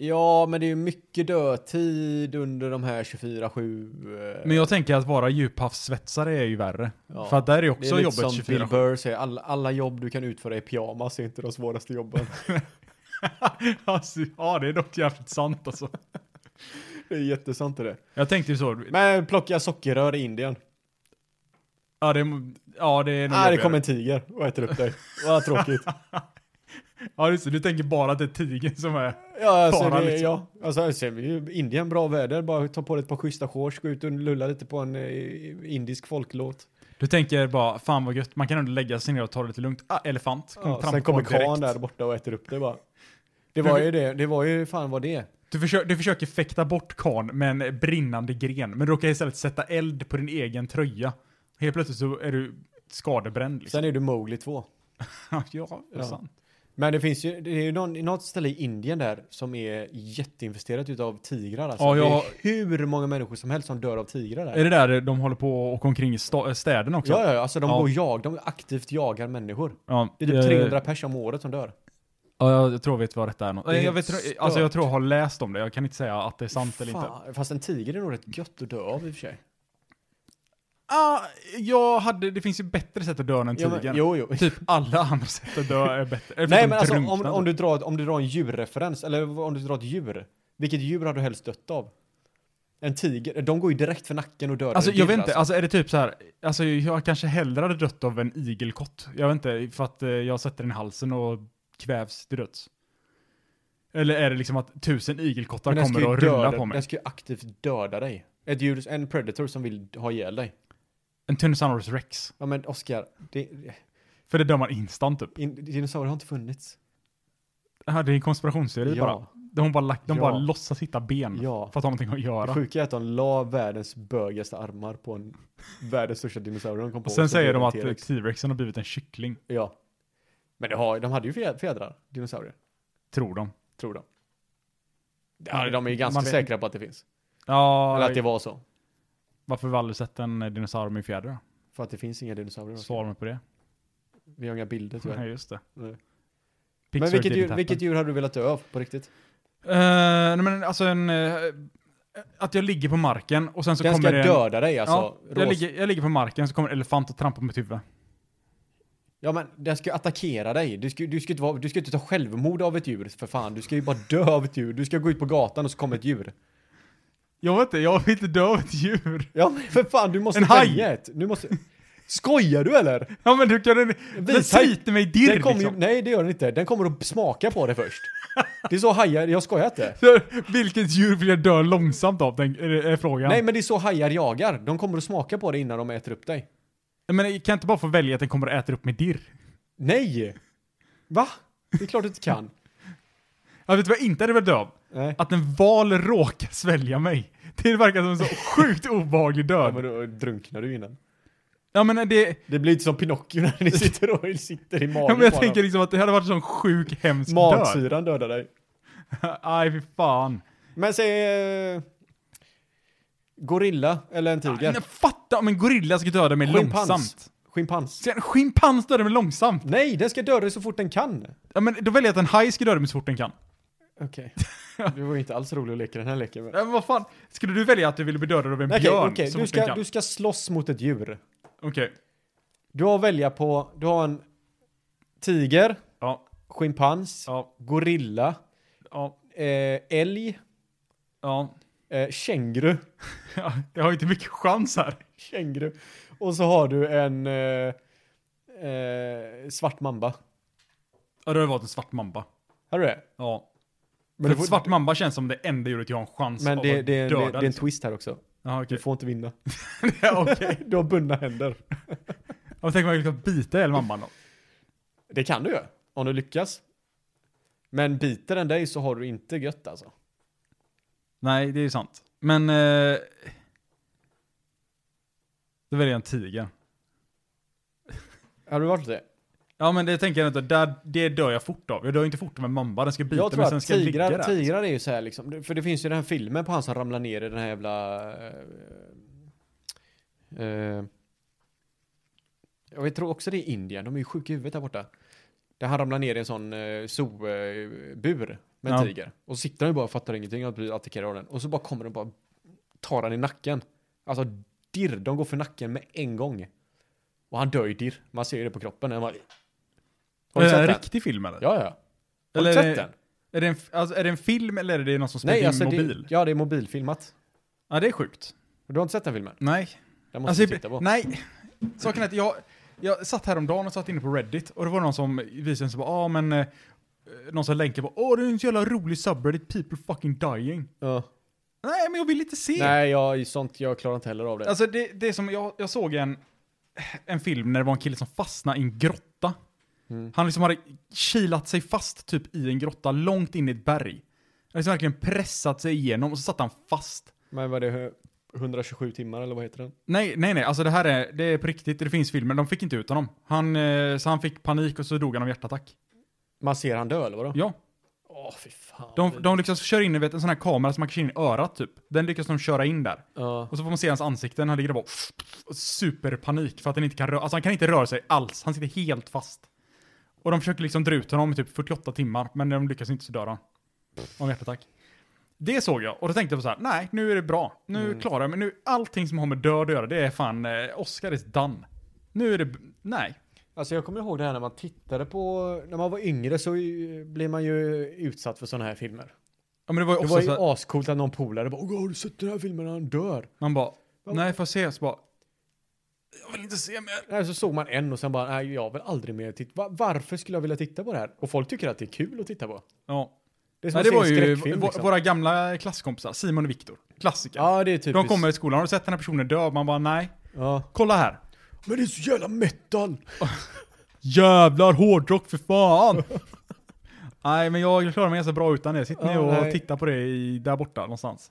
[SPEAKER 3] Ja, men det är ju mycket dödtid under de här 24-7. eh,
[SPEAKER 1] Men jag tänker att vara djuphavssvetsare är ju värre.
[SPEAKER 3] Ja.
[SPEAKER 1] För att där är ju
[SPEAKER 3] det är
[SPEAKER 1] också
[SPEAKER 3] lite
[SPEAKER 1] jobbet
[SPEAKER 3] som Bill
[SPEAKER 1] 24-7.
[SPEAKER 3] Burr säger, alla, alla jobb du kan utföra i pyjamas är inte de svåraste jobben.
[SPEAKER 1] alltså, ja, det är dock jävligt sant alltså.
[SPEAKER 3] det är jättesant det.
[SPEAKER 1] Jag tänkte ju så.
[SPEAKER 3] Men plocka sockerrör i Indien.
[SPEAKER 1] Ja, det, är- ja, det är nog
[SPEAKER 3] Ah, det
[SPEAKER 1] jobbigare.
[SPEAKER 3] kommer en tiger och äter upp dig. Vad tråkigt.
[SPEAKER 1] Ja, just det. Du tänker bara att det är tigern som är...
[SPEAKER 3] Ja, alltså,
[SPEAKER 1] Faran
[SPEAKER 3] det,
[SPEAKER 1] liksom.
[SPEAKER 3] ja. Alltså, alltså, det är ju Indien, bra väder. Bara ta på dig ett par schyssta shorts, gå ut och lulla lite på en eh, indisk folklåt.
[SPEAKER 1] Du tänker bara, fan vad gött, man kan ändå lägga sig ner och ta det lite lugnt. Ah, elefant. Kommer
[SPEAKER 3] Ja,
[SPEAKER 1] trampa
[SPEAKER 3] sen
[SPEAKER 1] på
[SPEAKER 3] kommer
[SPEAKER 1] direkt.
[SPEAKER 3] kan där borta och äter upp dig bara.
[SPEAKER 1] Du-
[SPEAKER 3] Det var ju det, det var ju fan vad det är.
[SPEAKER 1] Du, försö- du försöker fäkta bort kan med en brinnande gren, men du råkar istället sätta eld på din egen tröja. Helt plötsligt så är du skadebränd. Liksom.
[SPEAKER 3] Sen är du Mowgli 2.
[SPEAKER 1] ja, det är
[SPEAKER 3] Ja.
[SPEAKER 1] sant.
[SPEAKER 3] Men det finns ju, det är ju någon, något ställe i Indien där som är jätteinvesterat utav tigrar alltså.
[SPEAKER 1] Ja, jag-
[SPEAKER 3] Det är hur många människor som helst som dör av tigrar där.
[SPEAKER 1] Är det där de håller på och åker omkring i sta- eh, städerna också?
[SPEAKER 3] Ja, ja, ja, alltså de
[SPEAKER 1] Ja.
[SPEAKER 3] går och jag, de aktivt jagar människor.
[SPEAKER 1] Ja,
[SPEAKER 3] Det är typ
[SPEAKER 1] eh,
[SPEAKER 3] 300 pers om året som dör.
[SPEAKER 1] Ja, jag, jag tror jag vet vad detta är. Nå-
[SPEAKER 3] Det är
[SPEAKER 1] jag, vet,
[SPEAKER 3] stört.
[SPEAKER 1] alltså, jag tror jag har läst om det, jag kan inte säga att det är sant eller inte.
[SPEAKER 3] Fan, fast en tiger är nog rätt gött att dö av i och för sig.
[SPEAKER 1] Ah, jag hade, det finns ju bättre sätt att dö än en
[SPEAKER 3] Ja,
[SPEAKER 1] tiger.
[SPEAKER 3] men- jo, jo.
[SPEAKER 1] Typ alla andra sätt att dö är bättre.
[SPEAKER 3] Nej
[SPEAKER 1] Förutom
[SPEAKER 3] men alltså om,
[SPEAKER 1] drunknande.
[SPEAKER 3] om, du drar, om du drar en djurreferens, eller om du drar ett djur. Vilket djur har du helst dött av? En tiger, de går ju direkt för nacken och dödar
[SPEAKER 1] Alltså
[SPEAKER 3] en
[SPEAKER 1] jag
[SPEAKER 3] tiger,
[SPEAKER 1] vet inte, alltså är det typ så här, alltså jag kanske hellre hade dött av en igelkott. Jag vet inte, för att eh, jag sätter den i halsen och kvävs till döds. Eller är det liksom att tusen igelkottar
[SPEAKER 3] Men den ska
[SPEAKER 1] kommer
[SPEAKER 3] ju
[SPEAKER 1] och rullar
[SPEAKER 3] döda-
[SPEAKER 1] på mig?
[SPEAKER 3] Den ska ju aktivt döda dig. Ett djur, en predator som vill ha ihjäl dig.
[SPEAKER 1] En Tyrannosaurus rex.
[SPEAKER 3] Ja men Oskar, det,
[SPEAKER 1] För det dör man instant typ.
[SPEAKER 3] in, dinosaurier har inte funnits.
[SPEAKER 1] Det här det är en konspirationsteori
[SPEAKER 3] Ja.
[SPEAKER 1] bara. De har bara, lagt, de
[SPEAKER 3] Ja.
[SPEAKER 1] bara låtsas hitta ben
[SPEAKER 3] Ja.
[SPEAKER 1] för att ha någonting att
[SPEAKER 3] Det
[SPEAKER 1] göra.
[SPEAKER 3] sjuka är att de la världens bögigaste armar på en världens största dinosaurie de kom på.
[SPEAKER 1] Och sen
[SPEAKER 3] Så blev
[SPEAKER 1] säger de
[SPEAKER 3] det
[SPEAKER 1] att eh,
[SPEAKER 3] T-rex.
[SPEAKER 1] T-rexen har blivit en kyckling,
[SPEAKER 3] Ja. Men det har, de hade ju fjä- fjädrar, dinosaurier.
[SPEAKER 1] tror de.
[SPEAKER 3] Tror de. Ja, de är ju ganska
[SPEAKER 1] Man vet-
[SPEAKER 3] säkra på att det finns.
[SPEAKER 1] Ja,
[SPEAKER 3] Eller att det var så.
[SPEAKER 1] varför har vi aldrig sett en eh, dinosaurie med fjädrar?
[SPEAKER 3] För att det finns inga dinosaurier.
[SPEAKER 1] Svara mig på det.
[SPEAKER 3] Vi har inga bilder
[SPEAKER 1] Nej,
[SPEAKER 3] tyvärr.
[SPEAKER 1] just det.
[SPEAKER 3] Nej.
[SPEAKER 1] Pixar
[SPEAKER 3] Men vilket
[SPEAKER 1] didn't
[SPEAKER 3] djur,
[SPEAKER 1] happen.
[SPEAKER 3] vilket djur hade du velat dö av på riktigt?
[SPEAKER 1] Eh, nej men alltså en... eh, att jag ligger på marken och sen så
[SPEAKER 3] Den ska
[SPEAKER 1] kommer det... en-
[SPEAKER 3] döda dig alltså.
[SPEAKER 1] ja,
[SPEAKER 3] Ja,
[SPEAKER 1] jag, ligger, jag ligger på marken så kommer en elefant och trampar på mitt huvud.
[SPEAKER 3] ja men den ska ju attackera dig. Du ska, du, ska inte vara, du ska inte ta självmord av ett djur för fan. Du ska ju bara dö av ett djur. Du ska gå ut på gatan och så kommer ett djur.
[SPEAKER 1] Jag vet inte, jag vill inte dö av ett djur.
[SPEAKER 3] Ja men för fan du måste
[SPEAKER 1] En haj!
[SPEAKER 3] välja ett. Du måste... Skojar du eller?
[SPEAKER 1] Ja men du kan... Men
[SPEAKER 3] Vishaj-
[SPEAKER 1] säg till mig dirr
[SPEAKER 3] Den kommer ju,
[SPEAKER 1] liksom.
[SPEAKER 3] nej det gör den inte. Den kommer att smaka på det först. Det är så hajar, jag skojar inte.
[SPEAKER 1] Så, Vilket djur vill jag dö långsamt av? Den, är, är frågan.
[SPEAKER 3] Nej
[SPEAKER 1] Nej,
[SPEAKER 3] men det är så hajar jagar. De kommer att smaka på det innan de äter upp dig.
[SPEAKER 1] men kan jag inte bara få välja att den kommer och äter upp mitt dirr?
[SPEAKER 3] Nej! Va? Det är klart du inte kan.
[SPEAKER 1] Jag vet du vad jag inte hade velat dö av?
[SPEAKER 3] Nej.
[SPEAKER 1] Att en val råkar svälja mig. Det verkar som en så sjukt obehaglig
[SPEAKER 3] Ja,
[SPEAKER 1] död.
[SPEAKER 3] men då drunknar du innan.
[SPEAKER 1] Ja men det...
[SPEAKER 3] Det blir inte som Pinocchio när ni sitter och sitter i magen
[SPEAKER 1] Ja, men jag
[SPEAKER 3] på
[SPEAKER 1] tänker
[SPEAKER 3] honom.
[SPEAKER 1] liksom att det hade varit en sån sjuk, hemsk död.
[SPEAKER 3] Matsyran dödar dig.
[SPEAKER 1] Aj, fy fan.
[SPEAKER 3] Men säg... Eh, gorilla eller en tiger.
[SPEAKER 1] Men fatta om en gorilla ska döda mig
[SPEAKER 3] Schimpans.
[SPEAKER 1] långsamt.
[SPEAKER 3] Schimpans.
[SPEAKER 1] Ska en schimpans döda mig långsamt?
[SPEAKER 3] Nej, den ska döda dig så fort den kan.
[SPEAKER 1] Ja, men då väljer jag att en haj ska döda mig så fort den kan.
[SPEAKER 3] Okej. Det var ju inte alls roligt att leka den här leken med.
[SPEAKER 1] Ja, men vad fan? Skulle du välja att du ville bli dödad av en
[SPEAKER 3] Okej,
[SPEAKER 1] björn
[SPEAKER 3] okej.
[SPEAKER 1] så
[SPEAKER 3] Du
[SPEAKER 1] fort den
[SPEAKER 3] ska,
[SPEAKER 1] kan?
[SPEAKER 3] du ska slåss mot ett djur.
[SPEAKER 1] Okej.
[SPEAKER 3] Du har att välja på... Du har en tiger,
[SPEAKER 1] Ja,
[SPEAKER 3] schimpans,
[SPEAKER 1] ja,
[SPEAKER 3] gorilla,
[SPEAKER 1] ja,
[SPEAKER 3] eh, älg,
[SPEAKER 1] ja.
[SPEAKER 3] eh, känguru.
[SPEAKER 1] Ja, Jag har ju inte mycket chans här.
[SPEAKER 3] känguru. Och så har du en eh, eh, svart mamba.
[SPEAKER 1] Ja, då har det varit en svart mamba.
[SPEAKER 3] Har du det?
[SPEAKER 1] Ja. Men
[SPEAKER 3] det-
[SPEAKER 1] Svart Mamba känns som det enda djuret jag har en chans
[SPEAKER 3] Men
[SPEAKER 1] av
[SPEAKER 3] det, det,
[SPEAKER 1] att
[SPEAKER 3] det,
[SPEAKER 1] döda.
[SPEAKER 3] det, det är en twist här också.
[SPEAKER 1] Ja,
[SPEAKER 3] Du
[SPEAKER 1] okej.
[SPEAKER 3] får inte vinna.
[SPEAKER 1] Ja, okej.
[SPEAKER 3] Du har bundna händer.
[SPEAKER 1] Jag tänker man liksom bita ihjäl mamman då.
[SPEAKER 3] Det kan du ju, om du lyckas. Men biter den dig så har du inte gött alltså.
[SPEAKER 1] Nej, det är ju sant. Men... Eh, då väljer jag en tiger.
[SPEAKER 3] Har du varit det?
[SPEAKER 1] Ja men det tänker jag inte, där, det dör jag fort av. Jag dör inte fort med alltså. mamba, den ska bita
[SPEAKER 3] Jag tror
[SPEAKER 1] men sen
[SPEAKER 3] att
[SPEAKER 1] ska jag ligga
[SPEAKER 3] tigrar,
[SPEAKER 1] där.
[SPEAKER 3] tigrar är ju så här liksom. För det finns ju den här filmen på han som ramlar ner i den här jävla... eh, eh, jag tror också det är Indien, de är ju sjuka i huvudet där borta. Där han ramlar ner i en sån eh, zoo-bur med en
[SPEAKER 1] Ja.
[SPEAKER 3] tiger. Och så sitter han ju bara och fattar ingenting och blir attackerad av den. Och så bara kommer den bara tar han i nacken. Alltså dirr, de går för nacken med en gång. Och han dör ju dirr. Man ser ju det på kroppen. Man, har
[SPEAKER 1] Är
[SPEAKER 3] du
[SPEAKER 1] det Eh, en
[SPEAKER 3] sett den?
[SPEAKER 1] riktig film eller?
[SPEAKER 3] Ja, ja. Har
[SPEAKER 1] eller
[SPEAKER 3] du
[SPEAKER 1] är
[SPEAKER 3] sett
[SPEAKER 1] det,
[SPEAKER 3] den?
[SPEAKER 1] är, det en, f- alltså, är det en film eller är det någon som spelar
[SPEAKER 3] Nej,
[SPEAKER 1] in
[SPEAKER 3] alltså
[SPEAKER 1] mobil?
[SPEAKER 3] det, ja, det är mobilfilmat.
[SPEAKER 1] Ja det är sjukt.
[SPEAKER 3] Du har inte sett den filmen?
[SPEAKER 1] Nej.
[SPEAKER 3] Den måste
[SPEAKER 1] Alltså,
[SPEAKER 3] vi titta på.
[SPEAKER 1] jag- nej. Saken är att jag, jag satt häromdagen och satt inne på Reddit och det var någon som visade en så bara, ah, men eh, någon som länkade på, åh det är en så jävla rolig subreddit, people fucking dying.
[SPEAKER 3] Ja.
[SPEAKER 1] Nej men jag vill inte se.
[SPEAKER 3] Nej, jag, sånt, jag klarar inte heller av det.
[SPEAKER 1] Alltså det, det är som, jag, jag såg en, en film när det var en kille som fastnade i en grotta.
[SPEAKER 3] Mm.
[SPEAKER 1] Han liksom hade kilat sig fast typ i en grotta långt in i ett berg. Han hade liksom verkligen pressat sig igenom och så satt han fast.
[SPEAKER 3] Men vad är det, 127 timmar eller vad heter den?
[SPEAKER 1] Nej, nej, nej, alltså det här är, det är på riktigt, det finns filmer, de fick inte ut honom. Han, eh, så han fick panik och så dog han av hjärtattack.
[SPEAKER 3] Man ser han dö eller vadå?
[SPEAKER 1] Ja,
[SPEAKER 3] Åh, fy fan.
[SPEAKER 1] de, de lyckas köra in, vet, en sån här kamera som man kan köra in i örat typ. Den lyckas de köra in där.
[SPEAKER 3] Ja.
[SPEAKER 1] Och så får man se hans ansikte, han ligger där bara och superpanik för att han inte kan röra, alltså han kan inte röra sig alls, han sitter helt fast. Och de försöker liksom dra ut honom i typ 48 timmar, men de lyckas inte så dör han. Av hjärtattack. Det såg jag, och då tänkte jag på så här: nej nu är det bra, nu
[SPEAKER 3] Mm.
[SPEAKER 1] klarar jag mig, nu allting som har med död att göra, det är fan, eh, Oscar is done. Nu är det, b- nej.
[SPEAKER 3] Alltså jag kommer ihåg det här när man tittade på, när man var yngre så eh, blev man ju utsatt för sådana här filmer.
[SPEAKER 1] Ja men det var ju
[SPEAKER 3] Det
[SPEAKER 1] också
[SPEAKER 3] var ju
[SPEAKER 1] så här,
[SPEAKER 3] ascoolt att någon polare bara Åh, har du sett den här filmen när han dör?
[SPEAKER 1] man bara, nej får jag se? Så bara, jag vill inte se mer.
[SPEAKER 3] Nej, så såg man en och sen bara, nej jag vill aldrig mer titta. Va- Varför skulle jag vilja titta på det här? Och folk tycker att det är kul att titta på.
[SPEAKER 1] Ja.
[SPEAKER 3] Det är som
[SPEAKER 1] Nej,
[SPEAKER 3] att
[SPEAKER 1] det
[SPEAKER 3] se en
[SPEAKER 1] var ju
[SPEAKER 3] skräckfilm
[SPEAKER 1] vå-
[SPEAKER 3] liksom.
[SPEAKER 1] våra gamla klasskompisar, Simon och Viktor. Klassiker.
[SPEAKER 3] Ja, det är typiskt.
[SPEAKER 1] De kommer till skolan, har du sett den här personen dö? Man bara nej.
[SPEAKER 3] Ja.
[SPEAKER 1] Kolla här.
[SPEAKER 3] Men det är så jävla metal!
[SPEAKER 1] Jävlar hårdrock för fan! nej men jag klarar mig ganska bra utan det. Sitt ner
[SPEAKER 3] Ja,
[SPEAKER 1] och
[SPEAKER 3] nej.
[SPEAKER 1] titta på det i, där borta någonstans.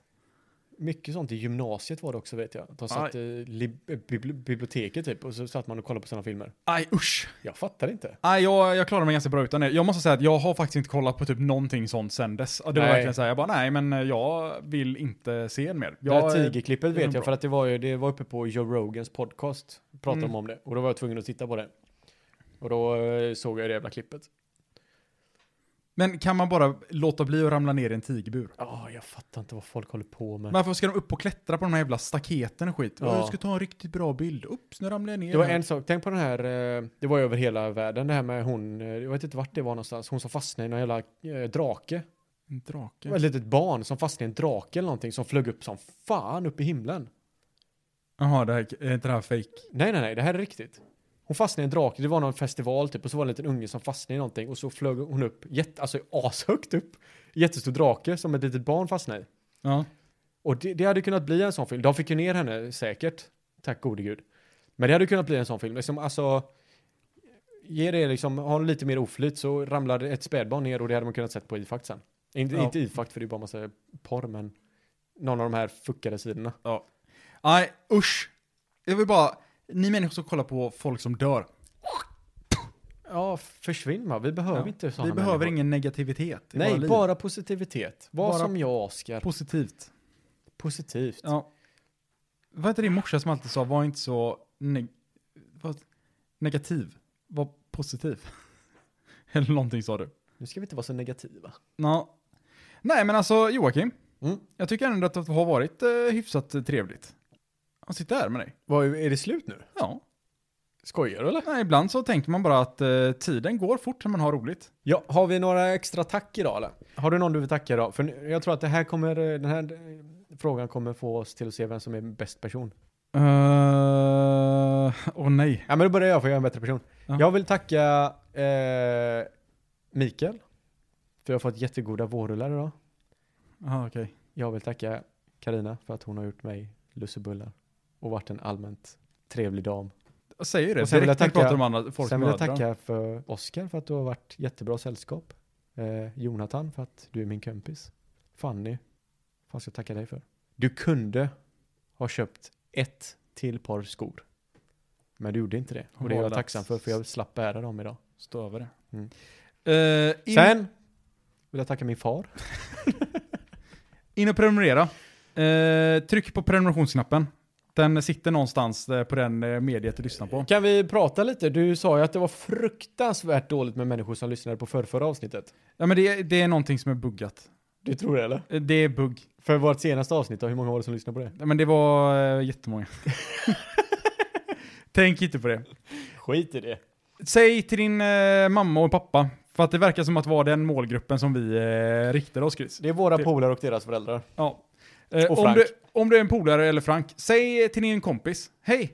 [SPEAKER 3] Mycket sånt i gymnasiet var det också vet jag. De satt i lib- eh, bibli- biblioteket typ och så satt man och kollade på sådana filmer.
[SPEAKER 1] Nej usch.
[SPEAKER 3] Jag fattar inte.
[SPEAKER 1] Nej jag, jag klarar mig ganska bra utan det. Jag måste säga att jag har faktiskt inte kollat på typ någonting sånt sen dess. Och Det var
[SPEAKER 3] Nej.
[SPEAKER 1] verkligen såhär, jag bara nej men jag vill inte se en mer.
[SPEAKER 3] det här
[SPEAKER 1] Jag,
[SPEAKER 3] tigerklippet
[SPEAKER 1] det är
[SPEAKER 3] vet
[SPEAKER 1] bra.
[SPEAKER 3] jag för att det var, ju, det var uppe på Joe Rogans podcast. Pratade
[SPEAKER 1] Mm.
[SPEAKER 3] de om det och då var jag tvungen att titta på det. Och då eh, såg jag det jävla klippet.
[SPEAKER 1] men kan man bara låta bli att ramla ner i en tigerbur?
[SPEAKER 3] Ja, jag fattar inte vad folk håller på med.
[SPEAKER 1] Men Varför ska de upp och klättra på de här jävla staketen och skit?
[SPEAKER 3] Ja.
[SPEAKER 1] Jag ska ta en riktigt bra bild. Upps, nu ramlade jag ner.
[SPEAKER 3] Det var
[SPEAKER 1] här.
[SPEAKER 3] en sak, tänk på den här, eh, det var över hela världen det här med hon, eh, jag vet inte vart det var någonstans, hon som fastnade i någon jävla eh, drake.
[SPEAKER 1] En
[SPEAKER 3] Det
[SPEAKER 1] drake.
[SPEAKER 3] var ett litet barn som fastnade i en drake eller någonting som flög upp som fan upp i himlen.
[SPEAKER 1] Jaha, det här, är inte det här fake?
[SPEAKER 3] Nej, nej, nej, det här är riktigt. Hon fastnade i en drake, det var någon festival typ och så var det en liten unge som fastnade i någonting och så flög hon upp, jätte, alltså ashögt upp, jättestor drake som ett litet barn fastnade i.
[SPEAKER 1] Ja.
[SPEAKER 3] Och det, det hade kunnat bli en sån film, de fick ju ner henne säkert, tack gode gud. Men det hade kunnat bli en sån film, liksom, alltså ge det liksom, ha lite mer oflyt så ramlade ett spädbarn ner och det hade man kunnat sett på IFACT sen. Inte,
[SPEAKER 1] Ja.
[SPEAKER 3] inte IFACT för det är bara massa porr men någon av de här fuckade sidorna.
[SPEAKER 1] Nej, usch. Jag vill bara, ni människor som kollar på folk som dör.
[SPEAKER 3] Ja, försvinn va, vi behöver
[SPEAKER 1] Ja.
[SPEAKER 3] inte sådana
[SPEAKER 1] Vi behöver ingen negativitet i våra
[SPEAKER 3] Nej,
[SPEAKER 1] liv.
[SPEAKER 3] bara positivitet. Var
[SPEAKER 1] Bara-
[SPEAKER 3] som jag, Oskar.
[SPEAKER 1] positivt.
[SPEAKER 3] Positivt.
[SPEAKER 1] Ja. Vad heter din morsa som alltid sa, var inte så neg- vad- negativ, var positiv. Eller någonting sa du.
[SPEAKER 3] Nu ska vi inte vara så negativa.
[SPEAKER 1] Ja. Nej, men alltså Joakim.
[SPEAKER 3] Mm.
[SPEAKER 1] Jag tycker ändå att det har varit eh, hyfsat eh, trevligt. Att sitta här med dig.
[SPEAKER 3] Vad, är det slut nu?
[SPEAKER 1] Ja.
[SPEAKER 3] Skojar du eller?
[SPEAKER 1] Nej, ibland så tänker man bara att eh, tiden går fort när man har roligt.
[SPEAKER 3] Ja, har vi några extra tack idag eller? Har du någon du vill tacka idag? För nu- jag tror att det här kommer, den här eh, frågan kommer få oss till att se vem som är bäst person.
[SPEAKER 1] Eh, Åh nej.
[SPEAKER 3] Ja, men då börjar jag för jag är en bättre person.
[SPEAKER 1] Ja.
[SPEAKER 3] Jag vill tacka eh, Mikael För jag har fått jättegoda vårrullar idag.
[SPEAKER 1] Jaha, okej.
[SPEAKER 3] Jag vill tacka Karina för att hon har gjort mig lussebullar och varit en allmänt trevlig dam.
[SPEAKER 1] Jag säger det.
[SPEAKER 3] Och sen vill jag
[SPEAKER 1] direkt när vi
[SPEAKER 3] tacka-
[SPEAKER 1] pratar om andra folks
[SPEAKER 3] Sen vill jag
[SPEAKER 1] mödrar.
[SPEAKER 3] tacka för Oskar för att du har varit jättebra sällskap. Eh, Jonathan för att du är min kompis. Fanny, vad ska jag tacka dig för? Du kunde ha köpt ett till par skor. Men du gjorde inte det. Och det är jag
[SPEAKER 1] Valda.
[SPEAKER 3] tacksam för, för jag slapp bära dem idag.
[SPEAKER 1] Stå över det.
[SPEAKER 3] Mm.
[SPEAKER 1] Eh, in,
[SPEAKER 3] Sen vill jag tacka min far.
[SPEAKER 1] in och prenumerera. Eh, tryck på prenumerationsknappen. Den sitter någonstans eh, på den eh, mediet du lyssnar på.
[SPEAKER 3] Kan vi prata lite? Du sa ju att det var fruktansvärt dåligt med människor som lyssnade på förrförra avsnittet.
[SPEAKER 1] Ja, men det, det är någonting som är buggat.
[SPEAKER 3] Du tror det eller?
[SPEAKER 1] Eh, Det är bugg.
[SPEAKER 3] För vårt senaste avsnitt, då, hur många var det som lyssnade på det?
[SPEAKER 1] Ja, Men det var eh, jättemånga. Tänk inte på det.
[SPEAKER 3] Skit i det.
[SPEAKER 1] Säg till din eh, mamma och pappa, för att det verkar som att vara den målgruppen som vi eh, riktar oss, Chris.
[SPEAKER 3] Det är våra
[SPEAKER 1] Det-
[SPEAKER 3] polare och deras föräldrar.
[SPEAKER 1] Ja. Eh,
[SPEAKER 3] Och
[SPEAKER 1] om,
[SPEAKER 3] Frank.
[SPEAKER 1] du, om du är en polare eller Frank, säg till din kompis, hej!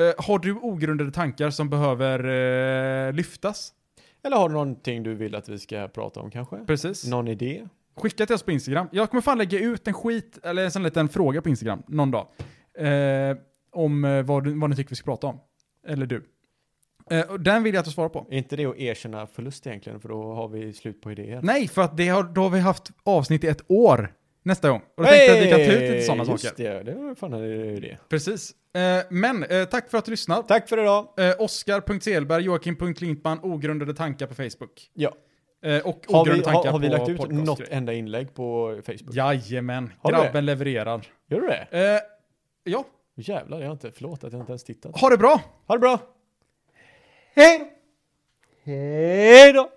[SPEAKER 1] Eh, har du ogrundade tankar som behöver eh, lyftas?
[SPEAKER 3] Eller har du någonting du vill att vi ska prata om kanske?
[SPEAKER 1] Precis.
[SPEAKER 3] Någon idé?
[SPEAKER 1] Skicka till oss på Instagram. Jag kommer fan lägga ut en skit, eller en sån liten fråga på Instagram, någon dag. Eh, om eh, vad, du, vad ni tycker vi ska prata om. Eller du. Eh, och den vill jag att du svarar på.
[SPEAKER 3] Är inte det att erkänna förlust egentligen? För då har vi slut på idéer.
[SPEAKER 1] Nej, för att det har, då har vi haft avsnitt i ett år nästa gång. Och då tänkte jag att vi kan ta ut lite sådana
[SPEAKER 3] just
[SPEAKER 1] saker.
[SPEAKER 3] det, det var fan en idé.
[SPEAKER 1] Precis. Eh, men eh, tack för att du lyssnar.
[SPEAKER 3] Tack för idag.
[SPEAKER 1] Eh, Oskar.Selberg, Joakim.Klintman, ogrundade tankar på Facebook.
[SPEAKER 3] Ja.
[SPEAKER 1] Eh, och
[SPEAKER 3] Har
[SPEAKER 1] ogrundade
[SPEAKER 3] vi, har,
[SPEAKER 1] tankar
[SPEAKER 3] har vi
[SPEAKER 1] på
[SPEAKER 3] lagt ut
[SPEAKER 1] podcast-
[SPEAKER 3] något enda inlägg på Facebook?
[SPEAKER 1] Jajamän,
[SPEAKER 3] Har vi det?
[SPEAKER 1] grabben levererar.
[SPEAKER 3] Gör du det?
[SPEAKER 1] Eh, ja,
[SPEAKER 3] Jävlar, jag har inte, förlåt att jag inte ens tittat.
[SPEAKER 1] ha det bra!
[SPEAKER 3] Ha det bra! Hej då! Hej då!